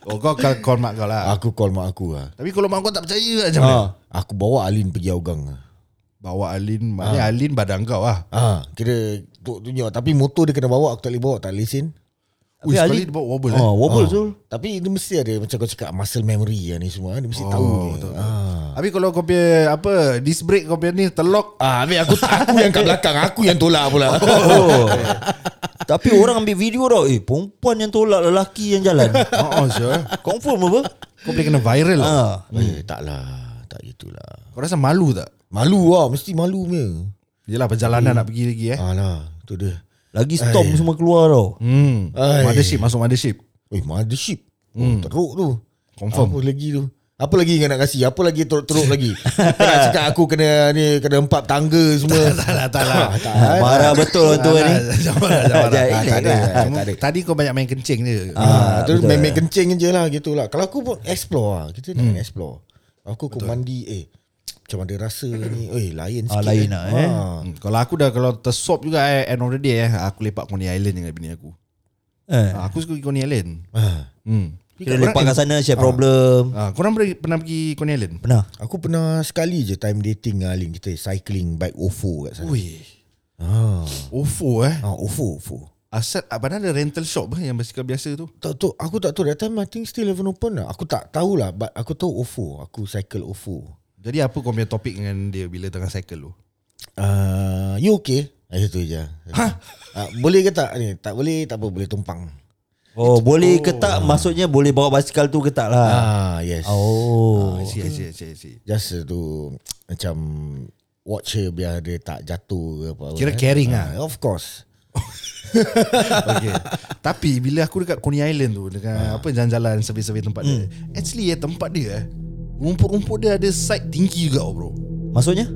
[SPEAKER 3] oh kau call, call mak kau lah.
[SPEAKER 1] Aku call mak aku lah
[SPEAKER 3] Tapi kalau mak kau tak percaya macam mana?
[SPEAKER 2] Ah.
[SPEAKER 1] Aku bawa Alin pergi Hougang lah
[SPEAKER 3] Bawa Alin, maknanya Alin badan kau ah.
[SPEAKER 1] Ah, kira tok tunjuk tapi motor dia kena bawa aku tak boleh bawa tak boleh lesen.
[SPEAKER 3] Ui,
[SPEAKER 2] Tapi
[SPEAKER 3] sekali
[SPEAKER 2] Ali-
[SPEAKER 3] dia bawa wobble
[SPEAKER 2] Oh,
[SPEAKER 1] Ah,
[SPEAKER 3] eh.
[SPEAKER 2] wobble tu.
[SPEAKER 1] Tapi dia mesti ada macam kau cakap muscle memory lah ni semua dia mesti oh, tahu. Betul. Ah.
[SPEAKER 3] Habis kalau kau punya apa disc brake kau punya ni terlock
[SPEAKER 1] Ah, habis aku aku yang kat belakang, aku yang tolak pula.
[SPEAKER 2] Oh. Tapi orang ambil video tau Eh perempuan yang tolak Lelaki yang jalan
[SPEAKER 1] Ah,
[SPEAKER 3] Oh, oh sure.
[SPEAKER 2] Confirm apa
[SPEAKER 3] Kau boleh kena viral. lah.
[SPEAKER 2] ah.
[SPEAKER 1] eh, taklah, tak gitulah.
[SPEAKER 3] Kau rasa malu tak?
[SPEAKER 1] Malu lah, mesti malu punya.
[SPEAKER 3] Yelah perjalanan nak pergi lagi eh.
[SPEAKER 1] Alah, tu dia.
[SPEAKER 2] Lagi
[SPEAKER 1] Eh.
[SPEAKER 2] storm semua keluar tau
[SPEAKER 3] Hmm.
[SPEAKER 1] Ai.
[SPEAKER 3] Mothership masuk mothership.
[SPEAKER 1] Eh, mothership. Hmm. Teruk tu.
[SPEAKER 3] Confirm.
[SPEAKER 1] Apa lagi tu? Apa lagi kau nak kasi? Apa lagi teruk-teruk lagi? Kau nak cakap aku kena ni kena empat tangga semua. tak lah, tak lah. tak lah.
[SPEAKER 2] Marah betul tu ni
[SPEAKER 3] Jangan lah, jangan lah.
[SPEAKER 2] Jangan,
[SPEAKER 3] Tak ada,
[SPEAKER 2] jangan.
[SPEAKER 3] tak ada. Tadi kau banyak main kencing je.
[SPEAKER 1] Ah,
[SPEAKER 2] betul
[SPEAKER 1] terus main-main kencing je lah gitu lah. Kalau aku pun explore lah. Kita nak explore. Aku aku mandi eh macam ada rasa ni. Eh lain sikit.
[SPEAKER 2] Ah, lain lah, eh.
[SPEAKER 1] Ah.
[SPEAKER 3] Hmm, Kalau aku dah Kalau tersop juga eh, End of the day eh, Aku lepak Coney Island Dengan bini aku
[SPEAKER 2] eh.
[SPEAKER 3] ha, Aku suka pergi Coney Island
[SPEAKER 1] Ah.
[SPEAKER 3] hmm.
[SPEAKER 2] Kira lepak kat sana Share problem
[SPEAKER 3] ha, Korang pernah, pernah pergi Coney Island?
[SPEAKER 2] Pernah
[SPEAKER 1] Aku pernah sekali je time dating dengan Alin kita cycling bike Ofo kat sana.
[SPEAKER 3] Ui
[SPEAKER 1] Ah.
[SPEAKER 3] Ofo eh
[SPEAKER 1] Ah, Ofo Ofo.
[SPEAKER 3] Asal Mana ada rental shop eh, Yang basikal biasa tu
[SPEAKER 1] Tak tahu, aku tak tahu that time I think still haven't open lah. Aku tak tahulah but aku tahu Ofo. Aku cycle Ofo.
[SPEAKER 3] Jadi apa kau punya topik Dengan dia Bila tengah cycle tu
[SPEAKER 1] Uh, you okay? Ah, itu je. Ah, boleh ke tak ni? Tak boleh, tak apa, boleh tumpang.
[SPEAKER 2] Oh boleh ke tak Maksudnya boleh bawa basikal tu ke tak lah
[SPEAKER 1] Ah, yes.
[SPEAKER 2] Oh
[SPEAKER 3] Ah, I see, I see, I see, I see.
[SPEAKER 1] Just uh, tu Macam Watch her biar dia tak jatuh ke apa
[SPEAKER 3] Kira caring lah.
[SPEAKER 1] Of course
[SPEAKER 3] Okay. Tapi bila aku dekat Coney Island tu Dengan apa jalan-jalan Survey-survey tempat dia Actually eh tempat dia eh Rumput-rumput dia ada side tinggi juga bro
[SPEAKER 2] Maksudnya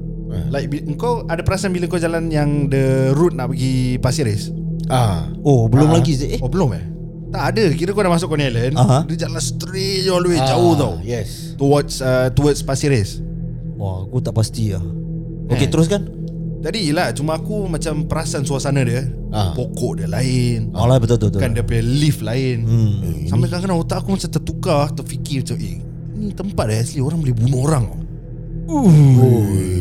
[SPEAKER 3] Like bi- kau ada perasan bila kau jalan yang the route nak pergi Pasir Ris?
[SPEAKER 1] Ah,
[SPEAKER 2] Oh belum lagi Zek. eh,
[SPEAKER 3] Oh belum eh? Tak ada. Kira kau dah masuk Coney Island,
[SPEAKER 2] Aha.
[SPEAKER 3] dia jalan straight
[SPEAKER 1] Ah.
[SPEAKER 3] all the way jauh tau.
[SPEAKER 1] Yes
[SPEAKER 3] Towards uh, towards Pasir Ris.
[SPEAKER 2] Wah aku tak pasti lah
[SPEAKER 1] Eh.
[SPEAKER 2] Okay teruskan
[SPEAKER 3] Jadi lah cuma aku macam perasan suasana dia.
[SPEAKER 1] Ah.
[SPEAKER 3] Pokok dia lain.
[SPEAKER 2] Alah betul-betul
[SPEAKER 3] Kan dia punya leaf lain. Eh,
[SPEAKER 2] Hmm.
[SPEAKER 3] Sampai kadang-kadang otak aku macam tertukar, terfikir macam eh ni tempat eh asli orang boleh bunuh orang tau.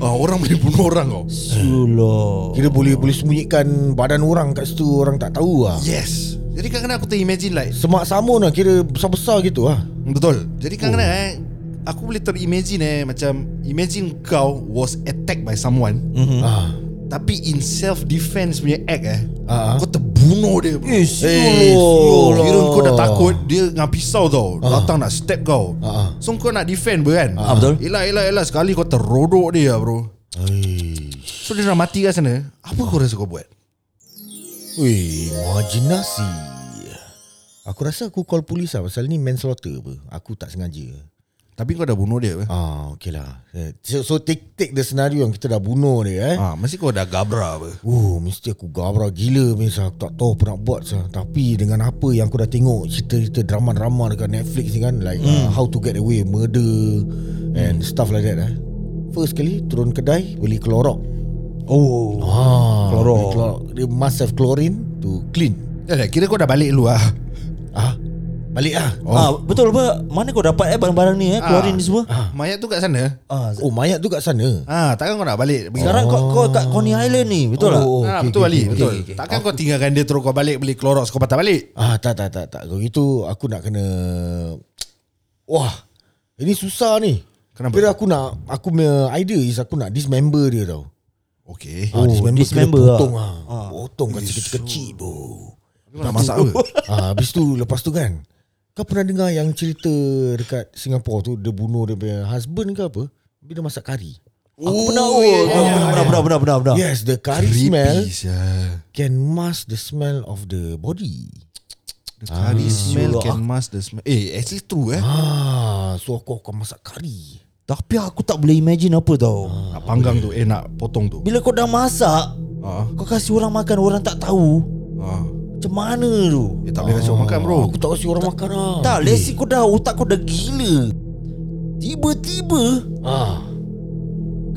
[SPEAKER 3] Ah, orang boleh bunuh orang tau.
[SPEAKER 2] Sulo
[SPEAKER 1] Kira boleh boleh sembunyikan Badan orang kat situ Orang tak tahu lah
[SPEAKER 3] Yes. Jadi kadang-kadang aku terimagine like
[SPEAKER 1] Semak samun lah Kira besar-besar gitu lah
[SPEAKER 3] Betul. Jadi kadang-kadang eh, aku boleh terimagine eh macam imagine kau was attacked by someone
[SPEAKER 2] Mhm.
[SPEAKER 1] ah.
[SPEAKER 3] tapi in self defense punya act eh.
[SPEAKER 1] Ah.
[SPEAKER 3] Kau terbunuh dia bro.
[SPEAKER 2] Eh,
[SPEAKER 1] Eh,
[SPEAKER 2] siul
[SPEAKER 1] siul.
[SPEAKER 3] Kira kau dah takut Dia dengan pisau tau Datang nak stab kau
[SPEAKER 1] Ah.
[SPEAKER 3] So kau nak defend pun kan
[SPEAKER 2] Ah, betul.
[SPEAKER 3] Yelah yelah yelah Sekali kau terodok dia bro
[SPEAKER 1] Eish.
[SPEAKER 3] So dia dah mati kat sana Apa kau rasa kau buat?
[SPEAKER 1] Weh Imajinasi Aku rasa aku call polis lah Pasal ni manslaughter apa Aku tak sengaja
[SPEAKER 3] Tapi kau dah bunuh dia apa?
[SPEAKER 1] Ah, okay lah Eh, So, so take, take the scenario Yang kita dah bunuh dia eh
[SPEAKER 3] Ah, mesti kau dah gabra apa?
[SPEAKER 1] Oh, mesti aku gabra gila Misal aku tak tahu apa nak buat sah. Tapi dengan apa yang aku dah tengok Cerita-cerita drama-drama dekat Netflix ni kan Like uh, How to Get Away, Murder And stuff like that eh. First kali turun kedai Beli Clorox
[SPEAKER 2] Oh
[SPEAKER 1] ah,
[SPEAKER 2] Clorox.
[SPEAKER 1] beli Clorox Dia must have chlorine to clean
[SPEAKER 3] Eh, kira kau dah balik dulu lah
[SPEAKER 1] Ah, Balik lah
[SPEAKER 2] Oh. Ah, betul apa? Mana kau dapat eh barang-barang ni eh, keluarin ni semua?
[SPEAKER 3] ah. Mayat tu kat sana
[SPEAKER 2] Ah,
[SPEAKER 1] Oh, mayat tu kat sana
[SPEAKER 3] Ah, takkan kau nak balik pergi
[SPEAKER 2] sekarang kau kau kat Coney Island ni, betul tak?
[SPEAKER 1] Oh,
[SPEAKER 3] ah,
[SPEAKER 1] okey,
[SPEAKER 3] betul
[SPEAKER 1] okey,
[SPEAKER 3] Ali,
[SPEAKER 1] okey,
[SPEAKER 3] betul.
[SPEAKER 1] okey,
[SPEAKER 3] Takkan kau tinggalkan dia terus kau balik beli Clorox kau patah balik.
[SPEAKER 1] Ah, tak, tak, tak, tak Kalau gitu aku nak kena Wah Ini susah ni
[SPEAKER 3] Kenapa?
[SPEAKER 1] Kira aku nak Aku punya idea is Aku nak dismember dia tau
[SPEAKER 3] Okey.
[SPEAKER 1] Ah,
[SPEAKER 2] Oh,
[SPEAKER 1] dismember, dismember
[SPEAKER 2] dismember lah.
[SPEAKER 1] kena potong lah. Ah. Potong kat kecil-kecil bro.
[SPEAKER 3] Nak masak apa?
[SPEAKER 1] ah, habis tu lepas tu kan. Kau pernah dengar yang cerita dekat Singapura tu dia bunuh dia punya husband ke apa? Bila masak kari.
[SPEAKER 2] Aku pernah
[SPEAKER 1] Ah,
[SPEAKER 2] oh, pernah, pernah, pernah, pernah, pernah, pernah.
[SPEAKER 1] Yes, the curry smell
[SPEAKER 3] Creepy sia.
[SPEAKER 1] can mask the smell of the body.
[SPEAKER 3] The curry smell
[SPEAKER 2] Sure.
[SPEAKER 3] can mask the smell. Eh, actually true eh.
[SPEAKER 1] Ah, so aku akan masak kari.
[SPEAKER 2] Tapi aku tak boleh imagine apa tau.
[SPEAKER 1] Ah.
[SPEAKER 3] Nak panggang tu, eh nak potong tu.
[SPEAKER 2] Bila kau dah masak,
[SPEAKER 3] Ah,
[SPEAKER 2] kau kasih orang makan orang tak tahu.
[SPEAKER 3] ah.
[SPEAKER 2] Macam mana tu?
[SPEAKER 3] Eh tak boleh
[SPEAKER 1] Ah.
[SPEAKER 3] kasih orang makan bro.
[SPEAKER 1] Aku tak kasi orang makan lah.
[SPEAKER 2] Tak, let's say kau dah otak kau dah gila. Tiba-tiba
[SPEAKER 1] Ah.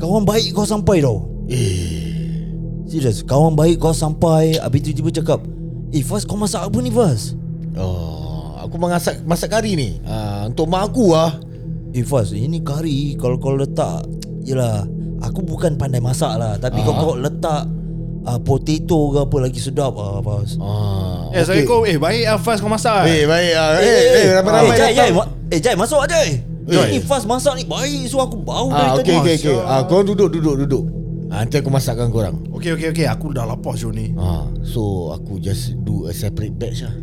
[SPEAKER 2] kawan baik kau sampai tau. Eh. Serius, kawan baik kau sampai, habis tu tiba cakap, "Eh Fas, kau masak apa ni Fas?"
[SPEAKER 1] Oh, aku masak masak kari ni. Ah, untuk mak aku ah.
[SPEAKER 2] Eh Fas, ini kari kalau kau letak Yelah Aku bukan pandai masak lah Tapi
[SPEAKER 1] Ah.
[SPEAKER 2] uh-huh. kau, kau letak uh, Potato ke apa lagi sedap ah Fas
[SPEAKER 1] Ah.
[SPEAKER 3] Eh, saya kau eh baik ah Faz kau masak.
[SPEAKER 1] Eh,
[SPEAKER 3] Eh,
[SPEAKER 1] baik ah. Eh, eh, eh ramai-ramai.
[SPEAKER 2] eh, Jai, Jai,
[SPEAKER 1] datang.
[SPEAKER 2] ma- eh, Jai, masuk ah, Jai
[SPEAKER 1] Eh.
[SPEAKER 2] Ini Fas masak ni baik So aku bau
[SPEAKER 1] Ah, okey
[SPEAKER 2] dari tadi
[SPEAKER 1] okey okey. Ah, kau duduk duduk duduk. Ah, nanti aku masakkan kau orang.
[SPEAKER 3] Okey okey okey, aku dah lapar Syul ni.
[SPEAKER 1] Ah, so aku just do a separate batch lah.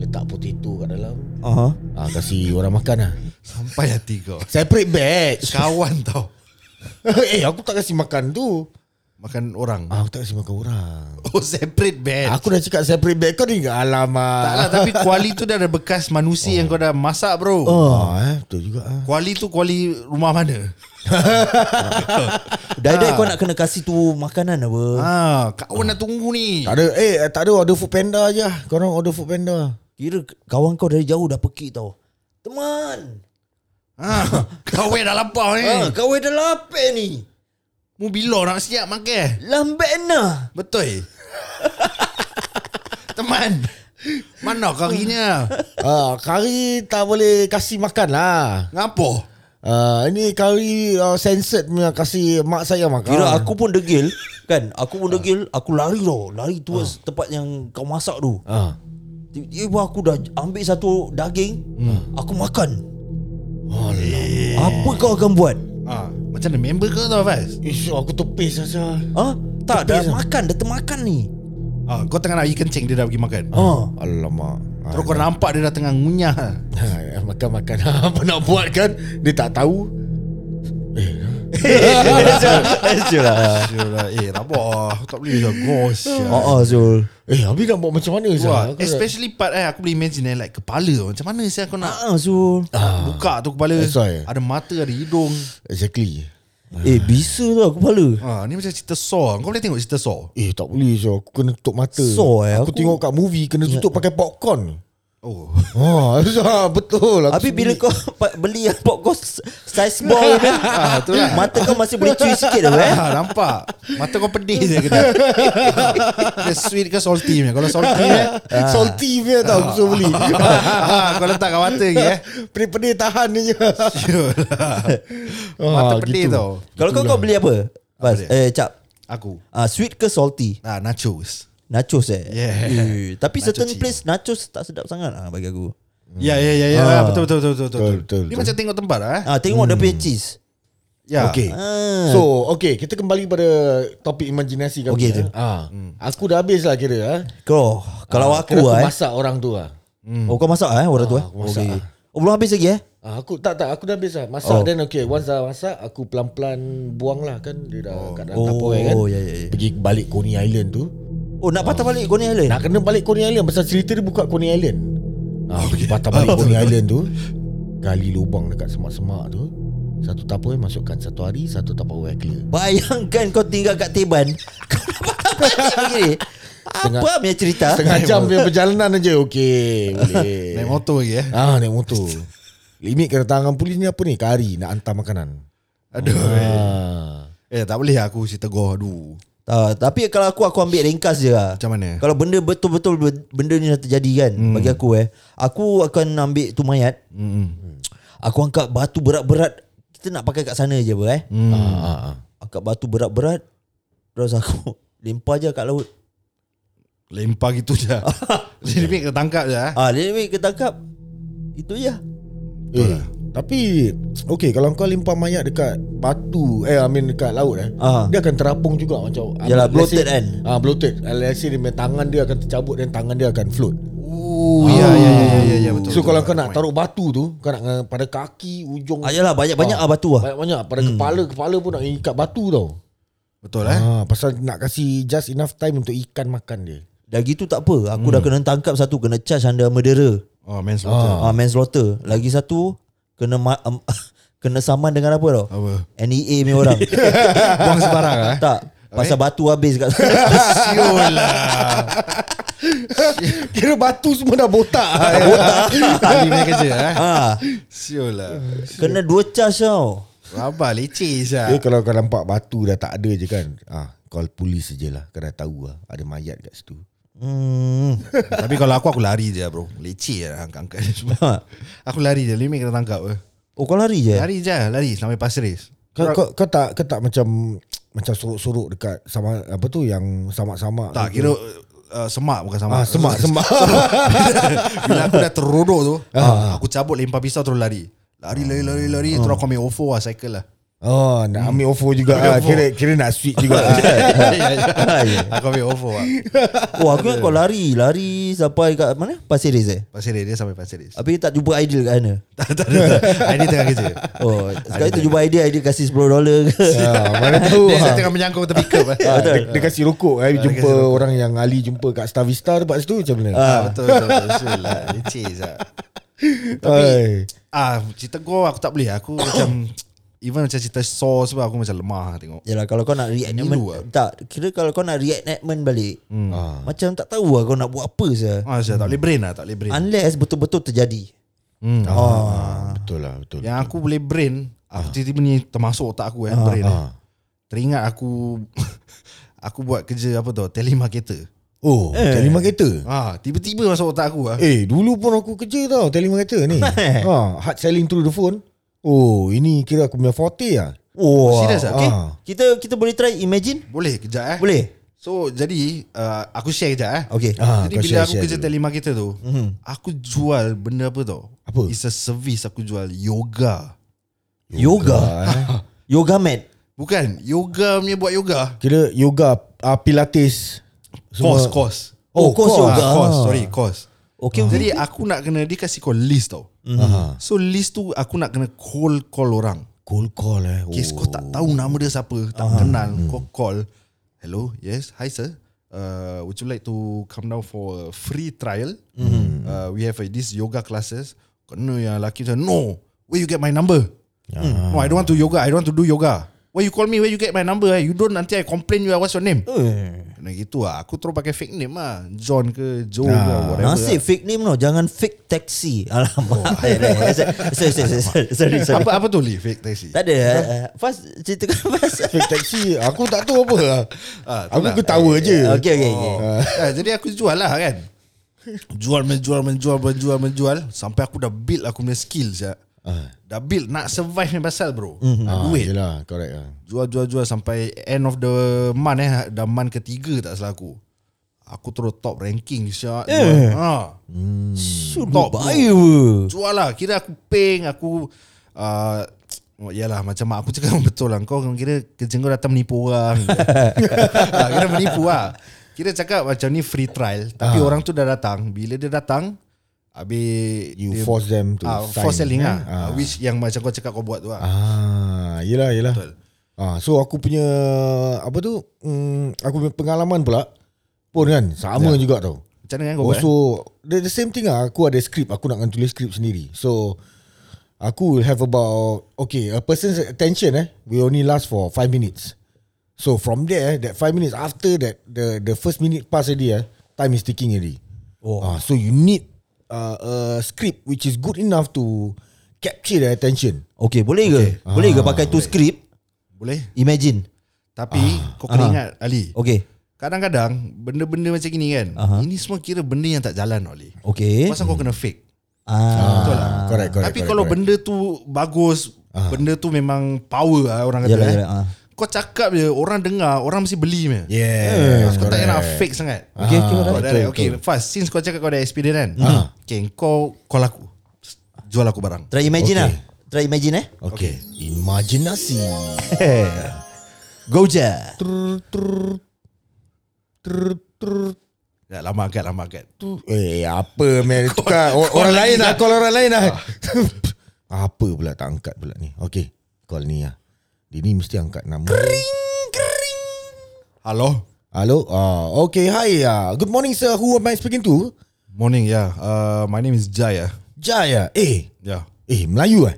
[SPEAKER 1] Letak potato kat dalam.
[SPEAKER 2] Aha.
[SPEAKER 1] Ah, kasi orang makan lah.
[SPEAKER 3] Sampai hati kau.
[SPEAKER 1] Separate batch.
[SPEAKER 3] Kawan tau.
[SPEAKER 1] eh, aku tak kasi makan tu.
[SPEAKER 3] Makan orang.
[SPEAKER 1] Ah, aku tak kasi makan orang. Eh,
[SPEAKER 3] Oh, separate bed.
[SPEAKER 1] Aku dah cakap separate batch kau ni. Alamak.
[SPEAKER 3] Tak lah tapi kuali tu dah ada bekas manusia oh. yang kau dah masak bro. Oh.
[SPEAKER 1] Ah, eh, betul juga ah.
[SPEAKER 3] Kuali tu kuali rumah mana?
[SPEAKER 1] Ah.
[SPEAKER 2] Dai-dai kau nak kena kasih tu makanan apa
[SPEAKER 3] Ha, kawan nak tunggu ni.
[SPEAKER 1] Tak ada eh tak ada order food panda je. Kau orang order food panda.
[SPEAKER 2] Kira kawan kau dari jauh dah pekik tau Teman
[SPEAKER 3] Ha, kau dah
[SPEAKER 1] Eh.
[SPEAKER 3] lapar ni.
[SPEAKER 2] ah, Kau dah lapar ni
[SPEAKER 3] Mu bila nak siap makan?
[SPEAKER 2] Lambat nah
[SPEAKER 3] Betul. Teman. Mana karinya?
[SPEAKER 1] Ah, kari tak boleh kasih makan lah.
[SPEAKER 3] Ngapo?
[SPEAKER 1] Ah, ini kari uh, censored punya kasih mak saya makan.
[SPEAKER 2] Kira aku pun degil Kan Aku pun degil Aku lari tau Lari tu tempat yang kau masak tu
[SPEAKER 1] Ah.
[SPEAKER 2] Tiba-tiba aku dah ambil satu daging Aku makan
[SPEAKER 1] Alah.
[SPEAKER 2] Apa kau akan buat?
[SPEAKER 3] Ha, macam mana member kau tau Faiz?
[SPEAKER 1] Isu aku tepis asal.
[SPEAKER 2] Ha? Tak, dah
[SPEAKER 1] Tepis lah.
[SPEAKER 2] makan Dah termakan ni
[SPEAKER 3] Ha, kau tengah nak pergi kencing dia dah pergi makan.
[SPEAKER 2] Ha
[SPEAKER 1] Alamak. Ah,
[SPEAKER 3] Terus kau nampak dia dah tengah ngunyah.
[SPEAKER 1] Ha, makan-makan Apa nak buat kan Dia tak tahu
[SPEAKER 3] Syul lah. Eh, rabak ah. Aku Tak boleh dah gos.
[SPEAKER 2] Ha ah, Zul
[SPEAKER 1] Eh habis nak buat macam mana
[SPEAKER 3] Wah,
[SPEAKER 1] Zah? Aku dah-
[SPEAKER 3] especially part eh aku boleh imagine eh, like kepala tau. macam mana saya kau nak
[SPEAKER 2] Ha ah, Zul
[SPEAKER 3] buka tu kepala
[SPEAKER 1] That's why.
[SPEAKER 3] ada mata ada hidung
[SPEAKER 1] Exactly
[SPEAKER 2] Eh, bisa tu lah kepala
[SPEAKER 3] ha ni macam cerita saw kau boleh tengok cerita saw
[SPEAKER 1] Eh tak boleh Zah Aku kena tutup mata
[SPEAKER 2] So, eh,
[SPEAKER 1] aku,
[SPEAKER 2] aku- Ya.
[SPEAKER 1] tengok kat movie Kena tutup pakai popcorn
[SPEAKER 3] oh
[SPEAKER 1] Ha Zah betul Aku
[SPEAKER 2] Habis
[SPEAKER 1] sembunyi.
[SPEAKER 2] bila kau pa- beli yang pop kau s- size ball ni
[SPEAKER 3] Ah, tu lah.
[SPEAKER 2] Mata kau masih boleh cuy sikit dah eh
[SPEAKER 3] Ha, nampak Mata kau pedih je kena Dia sweet ke salty punya Kalau salty eh
[SPEAKER 1] Salty punya tau Aku suruh beli
[SPEAKER 3] ha, Kau letak kat mata lagi eh
[SPEAKER 1] Pedih-pedih tahan je
[SPEAKER 3] Sure lah Mata
[SPEAKER 1] Ah,
[SPEAKER 3] pedih
[SPEAKER 1] gitu.
[SPEAKER 3] tau
[SPEAKER 2] Kalau kau kau beli apa? Bas,
[SPEAKER 3] dia?
[SPEAKER 2] eh cap
[SPEAKER 3] Aku
[SPEAKER 2] Ah, sweet ke salty?
[SPEAKER 3] ha, Nachos
[SPEAKER 2] Nachos eh.
[SPEAKER 3] Yeah.
[SPEAKER 2] Eh, tapi
[SPEAKER 3] Nacho
[SPEAKER 2] certain
[SPEAKER 3] cheese.
[SPEAKER 2] place nachos tak sedap sangat ah bagi aku.
[SPEAKER 3] Ya ya ya ya betul
[SPEAKER 1] Betul,
[SPEAKER 3] betul betul betul. betul,
[SPEAKER 1] Hmm. Ah. betul,
[SPEAKER 3] Ni
[SPEAKER 1] betul.
[SPEAKER 3] macam tengok tempat ah. Eh?
[SPEAKER 2] Ah, tengok dia punya cheese.
[SPEAKER 3] Ya.
[SPEAKER 1] Okay
[SPEAKER 2] Ah.
[SPEAKER 1] Hmm. So okay Kita kembali pada Topik imajinasi kau
[SPEAKER 2] Okey, tu.
[SPEAKER 1] ha. Aku dah habis lah kira ha.
[SPEAKER 2] Kau kalau
[SPEAKER 1] Ah,
[SPEAKER 2] aku
[SPEAKER 1] kira
[SPEAKER 2] ah. eh.
[SPEAKER 1] masak orang tu ah.
[SPEAKER 2] Oh kau masak eh orang tu eh.
[SPEAKER 1] aku masak, lah.
[SPEAKER 2] Okey. Oh belum habis lagi eh?
[SPEAKER 1] Ah, aku tak tak aku dah habis lah masak oh.
[SPEAKER 2] Oh.
[SPEAKER 1] then okay once dah masak aku pelan-pelan buang lah kan dia dah oh. kat dalam
[SPEAKER 2] Oh,
[SPEAKER 1] tupperware kan
[SPEAKER 2] ya, ya, ya.
[SPEAKER 1] pergi balik Coney Island tu
[SPEAKER 2] Oh nak patah balik Coney Island.
[SPEAKER 1] nak kena balik Coney Island pasal cerita dia buka Coney Island ah,
[SPEAKER 3] Oh,
[SPEAKER 1] okay. patah balik Coney Island tu gali lubang dekat semak-semak tu satu tupperware masukkan satu hari satu tupperware clear
[SPEAKER 2] Bayangkan kau tinggal kat Teban. Kau nak patah balik begini.
[SPEAKER 1] Setengah-
[SPEAKER 2] Apa punya cerita?
[SPEAKER 1] setengah jam dia perjalanan aja okey boleh
[SPEAKER 3] Naik motor lagi eh.
[SPEAKER 1] ah naik motor limit kedatangan polis ni apa ni kari nak hantar makanan
[SPEAKER 3] Aduh.
[SPEAKER 1] ah.
[SPEAKER 3] Eh tak boleh aku cerita go aduh.
[SPEAKER 2] Ah, tapi kalau aku aku ambil ringkas je lah.
[SPEAKER 3] Macam mana?
[SPEAKER 2] Kalau benda betul-betul ben- benda ni dah terjadi kan hmm. bagi aku eh. Aku akan ambil tu mayat. Hmm. Aku angkat batu berat-berat. Kita nak pakai kat sana je apa eh. Hmm.
[SPEAKER 1] Hmm. Ah, ah, ah.
[SPEAKER 2] Angkat batu berat-berat. Terus aku lempar je kat laut.
[SPEAKER 3] Lempar gitu je. Jadi dia ketangkap je eh.
[SPEAKER 2] Ah, dia ni ketangkap. Itu je.
[SPEAKER 1] Eh, tapi Okay kalau kau lempar mayat dekat batu Eh I mean dekat laut eh
[SPEAKER 2] Ah.
[SPEAKER 1] Dia akan terapung juga macam
[SPEAKER 2] Yalah,
[SPEAKER 1] let's
[SPEAKER 2] bloated
[SPEAKER 1] say-
[SPEAKER 2] kan?
[SPEAKER 1] Ah bloated Ah, Let's say dia punya tangan dia akan tercabut Dan tangan dia akan float
[SPEAKER 3] Oh ya ya ya ya ya betul
[SPEAKER 1] So kalau kau nak taruh batu tu Kau nak uh, pada kaki Ujung
[SPEAKER 2] Ah, yalah, banyak-banyak
[SPEAKER 1] Ah,
[SPEAKER 2] ah batu ah.
[SPEAKER 1] Banyak-banyak Pada kepala Kepala pun nak ikat batu tau
[SPEAKER 3] Betul Hmm. eh
[SPEAKER 1] ah, Pasal nak kasih Just enough time Untuk ikan makan dia
[SPEAKER 2] Dah gitu tak apa Aku hmm. dah kena tangkap satu Kena charge under murderer
[SPEAKER 3] Oh manslaughter
[SPEAKER 2] ah. ah manslaughter. Lagi satu kena ma- um, kena saman dengan apa tau?
[SPEAKER 3] Apa?
[SPEAKER 2] NEA punya orang.
[SPEAKER 3] Buang sebarang lah eh
[SPEAKER 2] tak. Pasal batu habis kat sana.
[SPEAKER 3] Siul lah
[SPEAKER 1] Kira batu semua dah botak
[SPEAKER 3] Ah, ya. Ali punya kerja eh
[SPEAKER 2] ha,
[SPEAKER 3] Siul lah
[SPEAKER 2] kena dua charge tau.
[SPEAKER 3] Rabah leceh
[SPEAKER 1] Eh
[SPEAKER 3] sah
[SPEAKER 1] kalau kau nampak batu dah tak ada je kan ah, Call polis je lah Kau dah tahu lah Ada mayat kat situ
[SPEAKER 2] Hmm.
[SPEAKER 3] Tapi kalau aku Aku lari je bro Leceh lah angkat-angkat ni semua
[SPEAKER 2] Ha.
[SPEAKER 3] Aku lari je Limit kena tangkap eh.
[SPEAKER 2] Oh kau lari je.
[SPEAKER 3] Lari je Lari sampai pasir res
[SPEAKER 1] kau, kau, kau tak kau tak macam Macam sorok-sorok dekat sama Apa tu yang sama-sama
[SPEAKER 3] Tak kira uh, Semak bukan semak Ah.
[SPEAKER 1] ah, Semak Semak
[SPEAKER 3] Bila aku dah terodok tu Aku cabut lempar pisau terus lari Lari lari lari lari Terus aku ambil OFO lah Cycle lah
[SPEAKER 1] Oh nak ambil OVO juga
[SPEAKER 3] Ambil
[SPEAKER 1] ah,
[SPEAKER 3] OVO.
[SPEAKER 1] Kira kira nak switch juga ah.
[SPEAKER 2] Ah, ya.
[SPEAKER 3] Aku ambil OFO lah
[SPEAKER 2] Oh aku ingat kau lari, lari sampai kat mana? Pasir Ris eh.
[SPEAKER 3] Pasir res Dia sampai pasir res
[SPEAKER 2] Habis tak jumpa ideal kat sana.
[SPEAKER 3] Ah, Tak tak tak Ini tengah kerja
[SPEAKER 2] Oh, sekali tu jumpa ideal, ideal kasih 10 dolar ke.
[SPEAKER 1] ah, Mana tahu
[SPEAKER 3] Dia
[SPEAKER 1] ah.
[SPEAKER 3] saya tengah menyangkut tepi cup eh.
[SPEAKER 1] Ah, dia, dia kasih rokok eh, Jumpa orang yang Ali jumpa kat Star Vista Tempat situ macam mana
[SPEAKER 3] Ah, Betul betul betul. Betul lah Leceh Zak
[SPEAKER 1] Tapi
[SPEAKER 3] Ah cerita kau aku tak boleh Aku macam Even macam cerita Saw sebab aku macam lemah lah tengok
[SPEAKER 2] Yalah kalau kau nak reenactment
[SPEAKER 3] Milu ah.
[SPEAKER 2] Tak Kira kalau kau nak reenactment balik hmm.
[SPEAKER 1] Ah,
[SPEAKER 2] Macam tak tahu lah kau nak buat apa sah.
[SPEAKER 3] Ah, saya tak boleh brain lah Tak boleh brain
[SPEAKER 2] Unless betul-betul terjadi
[SPEAKER 3] hmm.
[SPEAKER 1] ah, Betul lah betul
[SPEAKER 3] Yang aku boleh brain
[SPEAKER 1] Ah.
[SPEAKER 3] Aku tiba-tiba ni termasuk otak aku eh Brain eh. Teringat aku Aku buat kerja apa tau Telemarketer
[SPEAKER 1] Oh eh. telemarketer
[SPEAKER 3] Ah, Tiba-tiba masuk otak aku lah
[SPEAKER 1] Eh dulu pun aku kerja tau telemarketer ni ha, Hard selling through the phone Oh ini kira aku punya forte lah
[SPEAKER 2] Wow.
[SPEAKER 3] Serious ah?
[SPEAKER 2] okay.
[SPEAKER 1] Ah.
[SPEAKER 2] Kita kita boleh try imagine?
[SPEAKER 3] Boleh kejap eh
[SPEAKER 2] Boleh?
[SPEAKER 3] So jadi uh, Aku share kejap eh
[SPEAKER 2] Okay.
[SPEAKER 1] Ah,
[SPEAKER 3] Jadi
[SPEAKER 1] kau
[SPEAKER 3] bila
[SPEAKER 1] share,
[SPEAKER 3] aku
[SPEAKER 1] share
[SPEAKER 3] kerja
[SPEAKER 1] dulu. Hmm.
[SPEAKER 3] telemarketer tu mm-hmm. Aku jual benda apa tau
[SPEAKER 1] Apa?
[SPEAKER 3] It's a service aku jual Yoga
[SPEAKER 2] Yoga. Yoga mat.
[SPEAKER 3] Bukan Yoga punya buat yoga
[SPEAKER 1] Kira yoga uh, Pilates
[SPEAKER 3] Course Course
[SPEAKER 2] Oh, course
[SPEAKER 3] Ah,
[SPEAKER 2] yoga.
[SPEAKER 3] Course sorry course Ah.
[SPEAKER 2] Okay, okay.
[SPEAKER 3] Jadi aku nak kena Dia kasih kau list tau
[SPEAKER 1] Aha.
[SPEAKER 3] So list tu Aku nak kena call call orang
[SPEAKER 1] Cold call eh
[SPEAKER 3] Kes kau tak tahu nama dia siapa Tak kenal Kau call Hello Yes Hi sir uh, Would you like to Come down for a free trial uh, We have uh, this yoga classes Kena yang lelaki macam No Where you get my number Hmm. No I don't want to yoga I don't want to do yoga Why you call me Where you get my number eh? You don't nanti I complain you What's your name Kena gitu lah Aku terus pakai fake name lah John ke Joe ke
[SPEAKER 2] Oh, Ah,
[SPEAKER 3] whatever lah.
[SPEAKER 2] Nasib fake name no Jangan fake taxi Alamak eh, sorry, sorry, sorry, sorry,
[SPEAKER 3] lah.
[SPEAKER 2] sorry.
[SPEAKER 3] Apa apa tu Lee fake taxi
[SPEAKER 2] Tak ada ah, Fast cerita kan fast
[SPEAKER 1] Fake taxi Aku tak tahu apa lah
[SPEAKER 3] Ah, tu
[SPEAKER 1] Aku
[SPEAKER 3] lah.
[SPEAKER 1] ketawa je
[SPEAKER 2] Eh, Okay okay, okay.
[SPEAKER 3] Ah, jadi aku jual lah kan Jual menjual menjual menjual menjual Sampai aku dah build aku punya skill ya. Dah build nak survive ni pasal bro Nak
[SPEAKER 1] ah,
[SPEAKER 3] duit
[SPEAKER 1] Yelah correct lah
[SPEAKER 3] Jual jual jual sampai end of the month eh Dah month ketiga tak salah aku Aku terus top ranking siap yeah. ha.
[SPEAKER 2] Sudah
[SPEAKER 3] Top
[SPEAKER 2] baik weh.
[SPEAKER 3] Jual lah Kira aku ping Aku uh, Yalah macam mak aku cakap Betul lah Kau kira kerja kau datang menipu orang Ah, Kira menipu lah Kira cakap macam ni free trial
[SPEAKER 1] Ah.
[SPEAKER 3] Tapi orang tu dah datang Bila dia datang Habis
[SPEAKER 1] You
[SPEAKER 3] dia,
[SPEAKER 1] force them to
[SPEAKER 3] ah,
[SPEAKER 1] sign,
[SPEAKER 3] For selling
[SPEAKER 1] eh?
[SPEAKER 3] lah
[SPEAKER 1] Ah.
[SPEAKER 3] Ah, Which yang macam kau cakap kau buat tu lah
[SPEAKER 1] Ah, yelah yelah.
[SPEAKER 3] Betul.
[SPEAKER 1] Ah, so aku punya apa tu? Hmm, aku punya pengalaman pula pun kan sama juga tau.
[SPEAKER 3] Macam mana kan kau
[SPEAKER 1] Oh,
[SPEAKER 3] buat eh?
[SPEAKER 1] so the, the same thing lah. Aku ada script, aku nak kena tulis script sendiri. So aku will have about okay, a person's attention eh will only last for 5 minutes. So from there, that 5 minutes after that the the first minute pass already eh, time is ticking already.
[SPEAKER 2] Oh.
[SPEAKER 1] Ah, so you need uh, a script which is good enough to capture the attention.
[SPEAKER 2] Okay boleh ke Boleh ke pakai tu script
[SPEAKER 3] Boleh
[SPEAKER 2] Imagine
[SPEAKER 3] Tapi
[SPEAKER 1] Ah.
[SPEAKER 3] kau kena ingat Ali
[SPEAKER 2] Okay
[SPEAKER 3] Kadang-kadang Benda-benda macam gini kan Ini semua kira benda yang tak jalan
[SPEAKER 1] Eh?
[SPEAKER 3] Ali
[SPEAKER 2] Okay
[SPEAKER 3] Pasal kau kena fake
[SPEAKER 2] ah,
[SPEAKER 3] Betul lah
[SPEAKER 1] Correct, correct.
[SPEAKER 3] Tapi
[SPEAKER 1] correct,
[SPEAKER 3] kalau
[SPEAKER 1] correct. Ah.
[SPEAKER 3] benda tu bagus, benda tu memang power lah orang kata.
[SPEAKER 2] Yalah,
[SPEAKER 3] eh.
[SPEAKER 2] yalah, ah.
[SPEAKER 3] Kau cakap je, orang dengar, orang mesti beli meh.
[SPEAKER 1] Yes, Ah,
[SPEAKER 3] Kau tak nak fake sangat.
[SPEAKER 2] Okay okay
[SPEAKER 3] Kau
[SPEAKER 2] alright.
[SPEAKER 3] direct. Okay, fast. Since kau cakap kau ada experience kan.
[SPEAKER 1] Ah.
[SPEAKER 3] Okay, kau call aku. Jual aku barang.
[SPEAKER 2] Try imagine lah Try imagine eh
[SPEAKER 1] Okay. Imajinasi.
[SPEAKER 2] Go je
[SPEAKER 1] Trrr, trrr. Trrr, trrr.
[SPEAKER 3] Dah Ya, lama agak Lama agak tu
[SPEAKER 1] Eh apa man Itu kan or- Orang lain lah Call orang lain lah Apa pula tak angkat pula ni Okay Call ni lah Dia ni mesti angkat nama Kering
[SPEAKER 3] Hello
[SPEAKER 1] Hello Ah, Okay hi ah. Good morning sir Who am I speaking to
[SPEAKER 3] Morning yeah uh, My name is Jaya
[SPEAKER 1] Jaya Eh
[SPEAKER 3] Yeah
[SPEAKER 1] Eh Melayu eh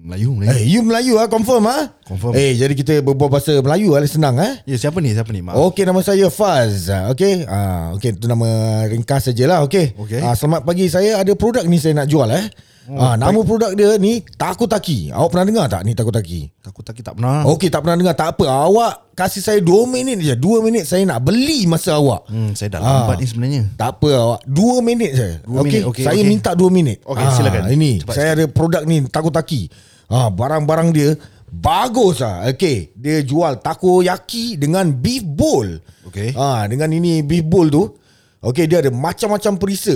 [SPEAKER 3] Melayu Melayu hey.
[SPEAKER 1] Eh you Melayu ah Confirm ah
[SPEAKER 3] Confirm.
[SPEAKER 1] Eh jadi kita berbual bahasa Melayu lah Senang ah
[SPEAKER 3] Ya siapa ni Siapa ni Mak
[SPEAKER 1] Okey nama saya Faz. Ah, Okey. Ah okey itu nama ringkas sajalah okey.
[SPEAKER 3] Okey. Hmm,
[SPEAKER 1] Ah selamat pagi saya ada produk ni saya nak jual eh. ah nama produk dia ni Takutaki. Awak pernah dengar tak ni Takutaki?
[SPEAKER 3] Aku tak tak pernah
[SPEAKER 1] Okey tak pernah dengar tak apa. Awak kasih saya 2 minit je. 2 minit saya nak beli masa awak.
[SPEAKER 3] Hmm, saya dah
[SPEAKER 1] Ah.
[SPEAKER 3] lambat ni sebenarnya.
[SPEAKER 1] Tak apa awak 2 minit saya.
[SPEAKER 3] Dua minit, okey,
[SPEAKER 1] saya
[SPEAKER 3] okey.
[SPEAKER 1] minta 2 minit. Ah,
[SPEAKER 3] Okey, silakan.
[SPEAKER 1] Ini
[SPEAKER 3] Cepat,
[SPEAKER 1] saya ada produk ni Takutaki. Ah barang-barang dia bagus ah. Okey, dia jual takoyaki dengan beef bowl.
[SPEAKER 3] Okey.
[SPEAKER 1] Ah dengan ini beef bowl tu. Okey, dia ada macam-macam perisa.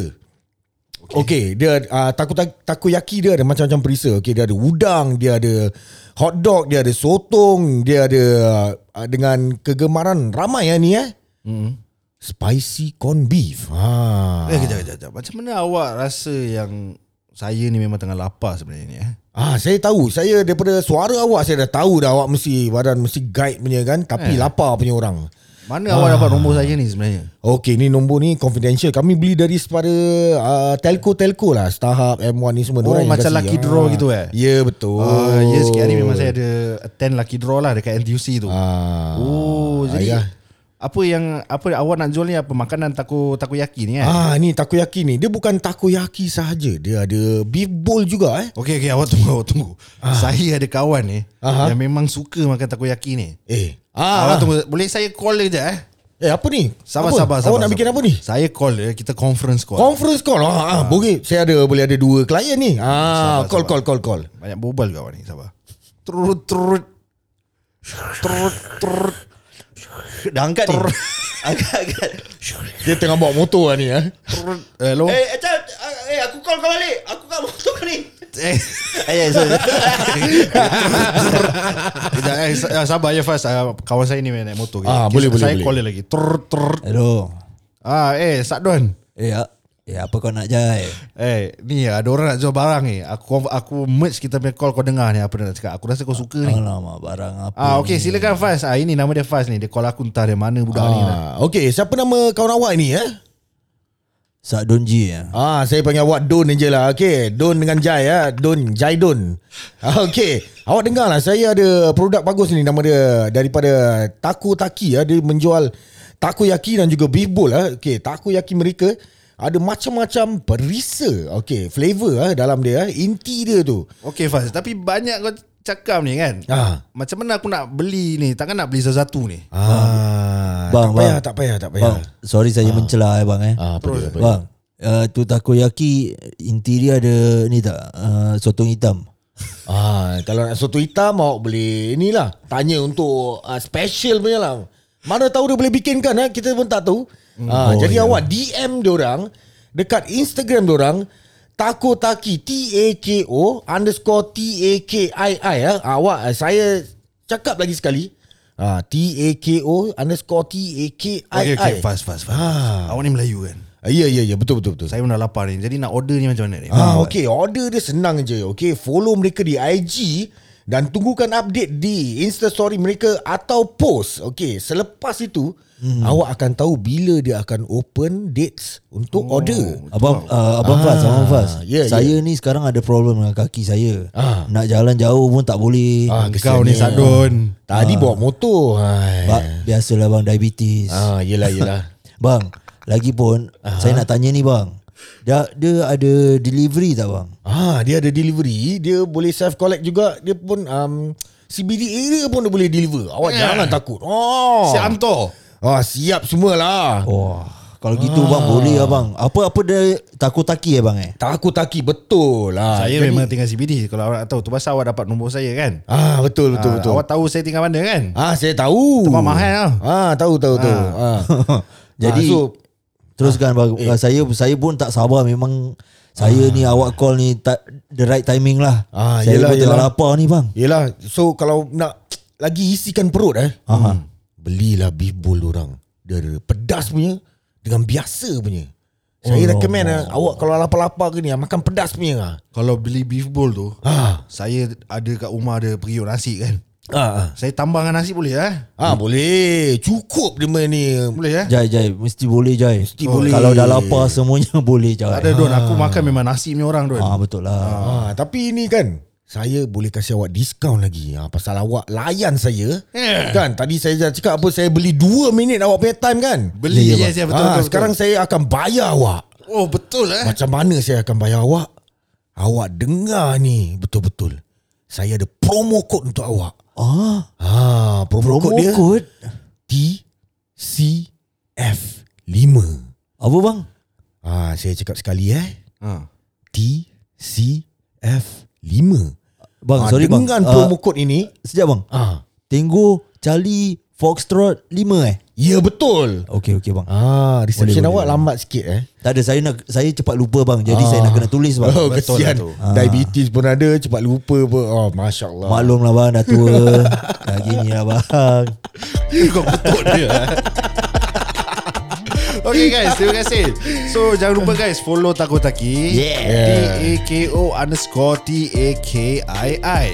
[SPEAKER 1] Okey, okay, dia uh, taku takoyaki dia ada macam-macam perisa. Okey, dia ada udang, dia ada hot dog, dia ada sotong, dia ada uh, dengan kegemaran ramai ya ni eh.
[SPEAKER 3] Hmm.
[SPEAKER 1] Spicy corn beef. Ha.
[SPEAKER 3] Eh, kejap, kejap, kejap. Macam mana awak rasa yang saya ni memang tengah lapar sebenarnya ni eh?
[SPEAKER 1] Ah, saya tahu. Saya daripada suara awak saya dah tahu dah awak mesti badan mesti guide punya kan, tapi eh. lapar punya orang.
[SPEAKER 3] Mana awak dapat nombor saya ni sebenarnya?
[SPEAKER 1] Okey, ni nombor ni confidential. Kami beli dari sepada uh, telco-telco lah, Starhub, M1 ni semua.
[SPEAKER 3] Oh,
[SPEAKER 1] Diorang yang
[SPEAKER 3] macam
[SPEAKER 1] kasi.
[SPEAKER 3] lucky draw gitu
[SPEAKER 1] Ya,
[SPEAKER 3] eh?
[SPEAKER 1] yeah, betul.
[SPEAKER 3] Oh. Uh, ya, yes, sekian ni memang saya ada attend lucky draw lah dekat NTUC tu.
[SPEAKER 1] Ah.
[SPEAKER 3] oh, jadi
[SPEAKER 1] ayah.
[SPEAKER 3] apa yang apa awak nak jual ni apa makanan taku takoyaki ni eh?
[SPEAKER 1] Ah, ni takoyaki ni. Dia bukan takoyaki sahaja. Dia ada beef bowl juga eh.
[SPEAKER 3] Okey okey awak tunggu awak tunggu. Saya ada kawan ni
[SPEAKER 1] Aha.
[SPEAKER 3] yang memang suka makan takoyaki ni.
[SPEAKER 1] Eh.
[SPEAKER 3] Awak
[SPEAKER 1] Ah.
[SPEAKER 3] tunggu boleh saya call dia kejap eh?
[SPEAKER 1] Eh, apa ni? apa?
[SPEAKER 3] Sabar sabar sabar.
[SPEAKER 1] Awak nak
[SPEAKER 3] sabar.
[SPEAKER 1] bikin apa ni?
[SPEAKER 3] Saya call dia kita conference call.
[SPEAKER 1] Conference call. Ah, ah, boleh. Saya ada boleh ada dua klien ni. Ah, call
[SPEAKER 3] Sabar, sabar.
[SPEAKER 1] call call call.
[SPEAKER 3] Banyak bobal kau ni Sabar Turut turut Turut turut
[SPEAKER 2] Dah angkat ni Angkat angkat
[SPEAKER 1] Dia tengah bawa motor lah ni eh.
[SPEAKER 3] turut Hello
[SPEAKER 2] Eh Acap Eh aku call kau balik Aku kat motor kau ni Eh sorry
[SPEAKER 3] Kejap eh, sa- eh, Sabar ya Fas Ah, Kawan saya ni main naik motor
[SPEAKER 1] Ah,
[SPEAKER 3] Okey,
[SPEAKER 1] boleh, boleh,
[SPEAKER 3] Saya
[SPEAKER 1] boleh.
[SPEAKER 3] call dia lagi Turut turut
[SPEAKER 2] Hello
[SPEAKER 3] Ah, Eh Sadon
[SPEAKER 2] Eh ah, Eh apa kau nak jai
[SPEAKER 3] Eh ni ada orang nak jual barang ni Aku aku merge kita punya call kau dengar ni Apa dia nak cakap Aku rasa kau suka ni
[SPEAKER 2] Alamak barang apa
[SPEAKER 3] Ah okey silakan Fas ah, Ini nama dia Fas ni Dia call aku entah dia mana budak ni lah
[SPEAKER 1] Ah, okey, siapa nama kawan awak ni eh?
[SPEAKER 2] Sak donji ya
[SPEAKER 1] Ah, saya panggil awak Don je lah. Okey, Don dengan Jai ah. Don, Jai Don. Ah, Okey. Awak dengar lah, saya ada produk bagus ni nama dia daripada Taku Taki ah. Dia menjual takoyaki dan juga beef bowl ah. Okey, takoyaki mereka ada macam-macam perisa. Okey, flavor ah dalam dia ah. Inti dia tu.
[SPEAKER 3] Okey Fas Tapi banyak kau cakap ni kan
[SPEAKER 1] Ah.
[SPEAKER 3] Macam mana aku nak beli ni Takkan nak beli satu-satu ni
[SPEAKER 1] Ah,
[SPEAKER 2] Bang,
[SPEAKER 1] tak payah,
[SPEAKER 2] bang.
[SPEAKER 1] tak payah, tak payah.
[SPEAKER 2] Bang sorry saya mencela eh bang eh
[SPEAKER 1] Ah, apa dia? apa dia?
[SPEAKER 2] Bang uh, Tu takoyaki Interior ada ni tak uh, Sotong hitam
[SPEAKER 1] Ah, kalau nak soto hitam awak boleh inilah tanya untuk uh, special punya lah. Mana tahu dia boleh bikin kan eh? kita pun tak tahu. ah,
[SPEAKER 2] Oh,
[SPEAKER 1] jadi
[SPEAKER 2] ya.
[SPEAKER 1] awak DM dia orang dekat Instagram dia orang Takotaki T A K O underscore T A K I I ya. Awak eh, saya cakap lagi sekali. Ah, T A K O underscore T A K I
[SPEAKER 3] Oh,
[SPEAKER 1] I.
[SPEAKER 3] ya, Okay, okay, fast, fast, fast.
[SPEAKER 1] Ah.
[SPEAKER 3] Awak ni Melayu kan?
[SPEAKER 1] Ya ya ya betul betul betul.
[SPEAKER 3] Saya pun dah lapar ni. Jadi nak order ni macam mana ni?
[SPEAKER 1] Ah, okay. Order dia senang je. Okay, follow mereka di IG dan tunggukan update di Insta story mereka atau post. Okay, selepas itu hmm. awak akan tahu bila dia akan open dates untuk oh. order.
[SPEAKER 2] Abang uh, Abang
[SPEAKER 1] Ah.
[SPEAKER 2] Fas Abang Fas
[SPEAKER 1] ya,
[SPEAKER 2] Saya ni sekarang ada problem dengan kaki saya
[SPEAKER 1] Ah.
[SPEAKER 2] Nak jalan jauh pun tak boleh
[SPEAKER 1] Ah,
[SPEAKER 3] Kau
[SPEAKER 1] kesiannya.
[SPEAKER 3] ni sadun.
[SPEAKER 1] Tadi bawa motor.
[SPEAKER 2] Ba-
[SPEAKER 1] Hai.
[SPEAKER 2] Biasalah bang diabetes
[SPEAKER 1] Ah, yelah yelah.
[SPEAKER 2] Bang Lagipun uh-huh. Saya nak tanya ni bang dia, dia ada delivery tak bang?
[SPEAKER 1] ah, dia ada delivery, dia boleh self collect juga. Dia pun um, CBD area pun dia boleh deliver. Awak yeah. jangan takut. Oh.
[SPEAKER 3] Si Anto.
[SPEAKER 1] Ah, siap semualah.
[SPEAKER 2] Wah Kalau gitu
[SPEAKER 1] Ah.
[SPEAKER 2] bang boleh lah bang Apa-apa dia takutaki eh bang eh?
[SPEAKER 1] Takutaki betul lah. Jadi-
[SPEAKER 3] Saya Ah, ya, memang tinggal CBD. Kalau awak nak tahu, tu pasal awak dapat nombor saya kan?
[SPEAKER 1] Ah betul betul
[SPEAKER 3] Ah,
[SPEAKER 1] ah, betul.
[SPEAKER 3] Awak tahu saya tinggal mana kan?
[SPEAKER 1] Ah saya tahu.
[SPEAKER 3] Tempat mahal tau.
[SPEAKER 1] Ah tahu tahu tahu. Ah. Ah,
[SPEAKER 2] Jadi
[SPEAKER 1] so, Ah,
[SPEAKER 2] Teruskan bang eh. Saya saya pun tak sabar memang Saya ni awak call ni tak, The right timing lah
[SPEAKER 1] Ah,
[SPEAKER 2] Saya
[SPEAKER 1] yelah,
[SPEAKER 2] pun tengah
[SPEAKER 1] yelah.
[SPEAKER 2] lapar ni bang
[SPEAKER 1] yelah so kalau nak lagi isikan perut eh.
[SPEAKER 2] Aha.
[SPEAKER 1] Belilah beef bowl orang. Dia ada pedas punya, Dengan biasa punya Saya recommend lah Awak kalau lapar-lapar ke ni ah, Makan pedas punya lah
[SPEAKER 3] Kalau beli beef bowl tu
[SPEAKER 2] Ha.
[SPEAKER 1] Ah.
[SPEAKER 3] Saya ada kat rumah ada periuk nasi kan
[SPEAKER 1] Ah, ah.
[SPEAKER 3] Saya tambah dengan nasi boleh eh
[SPEAKER 1] ah boleh Cukup dia main ni
[SPEAKER 3] Boleh eh
[SPEAKER 2] Jai Jai Mesti boleh Jai Mesti
[SPEAKER 1] boleh.
[SPEAKER 2] Kalau dah lapar semuanya boleh Jai
[SPEAKER 3] Tak ada Don Aku makan memang nasi punya orang Don
[SPEAKER 2] Ah betul lah.
[SPEAKER 1] ah, Tapi ni kan Saya boleh kasih awak diskaun lagi ah, Pasal awak layan saya
[SPEAKER 3] Eh.
[SPEAKER 1] Kan tadi saya dah cakap apa Saya beli 2 minit awak punya time kan
[SPEAKER 3] Beli
[SPEAKER 2] Ya,
[SPEAKER 3] yes, yes,
[SPEAKER 1] ah,
[SPEAKER 3] betul, betul, betul.
[SPEAKER 1] Sekarang saya akan bayar awak
[SPEAKER 3] Oh betul eh
[SPEAKER 1] Macam mana saya akan bayar awak? Awak dengar ni betul-betul. Saya ada promo code untuk awak.
[SPEAKER 2] Ah,
[SPEAKER 1] Ha, promo,
[SPEAKER 2] promo
[SPEAKER 1] code dia
[SPEAKER 2] code.
[SPEAKER 1] TCF5.
[SPEAKER 2] Apa bang?
[SPEAKER 1] Ha, saya cakap sekali eh.
[SPEAKER 3] ha.
[SPEAKER 1] TCF5.
[SPEAKER 2] Bang,
[SPEAKER 1] Ah,
[SPEAKER 2] sorry bang.
[SPEAKER 1] dengan promo code ini,
[SPEAKER 2] Sejak bang.
[SPEAKER 1] ah,
[SPEAKER 2] Tenggo Charlie Foxtrot 5 eh.
[SPEAKER 1] ya betul.
[SPEAKER 2] Okey okey bang.
[SPEAKER 1] Ah, reception
[SPEAKER 2] Boleh,
[SPEAKER 1] awak
[SPEAKER 2] boleh.
[SPEAKER 1] lambat sikit eh.
[SPEAKER 2] Tak ada saya nak saya cepat lupa bang. Jadi saya nak kena tulis bang.
[SPEAKER 1] Oh,
[SPEAKER 3] betul lah
[SPEAKER 1] kesian.
[SPEAKER 3] tu.
[SPEAKER 2] Ah,
[SPEAKER 1] Diabetes pun ada, cepat lupa pun. Oh, masya-Allah.
[SPEAKER 2] Maklum lah bang dah tua. dah gini lah bang.
[SPEAKER 3] Kau betul dia Okay guys Terima kasih So jangan lupa guys Follow Takotaki
[SPEAKER 1] Yeah.
[SPEAKER 3] T-A-K-O Underscore T-A-K-I-I
[SPEAKER 2] Ah.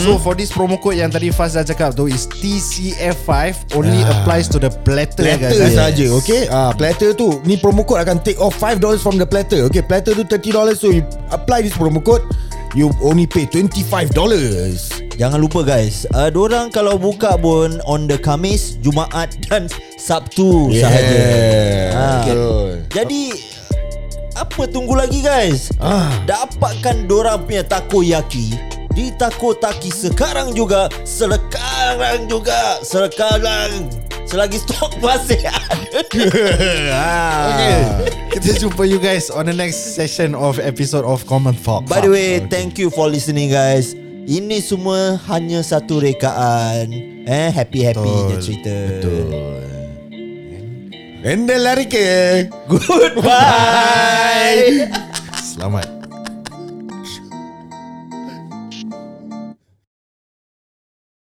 [SPEAKER 3] So for this promo code Yang tadi Faz dah cakap tu Is TCF5 Only
[SPEAKER 2] Ah.
[SPEAKER 3] applies to the platter,
[SPEAKER 1] platter
[SPEAKER 3] guys eh?
[SPEAKER 1] yes. saja okay ah platter tu ni promo code akan take off 5 dollars from the platter okay platter tu 30 dollars so you apply this promo code you only pay 25 dollars
[SPEAKER 2] Jangan lupa guys uh, Diorang kalau buka pun On the Kamis Jumaat Dan Sabtu yeah. sahaja Ah.
[SPEAKER 1] betul
[SPEAKER 2] Jadi apa tunggu lagi guys?
[SPEAKER 1] Ah.
[SPEAKER 2] Dapatkan dorang punya takoyaki di Takotaki sekarang juga, sekarang juga, sekarang selagi stok masih ada.
[SPEAKER 3] Okay Kita jumpa you guys On the next session Of episode of Common Talk Ah,
[SPEAKER 2] By the way, thank you for listening guys. Ini semua hanya satu rekaan. Eh, happy-happy je cerita. Betul.
[SPEAKER 1] and then lari ke
[SPEAKER 2] Goodbye.
[SPEAKER 3] Selamat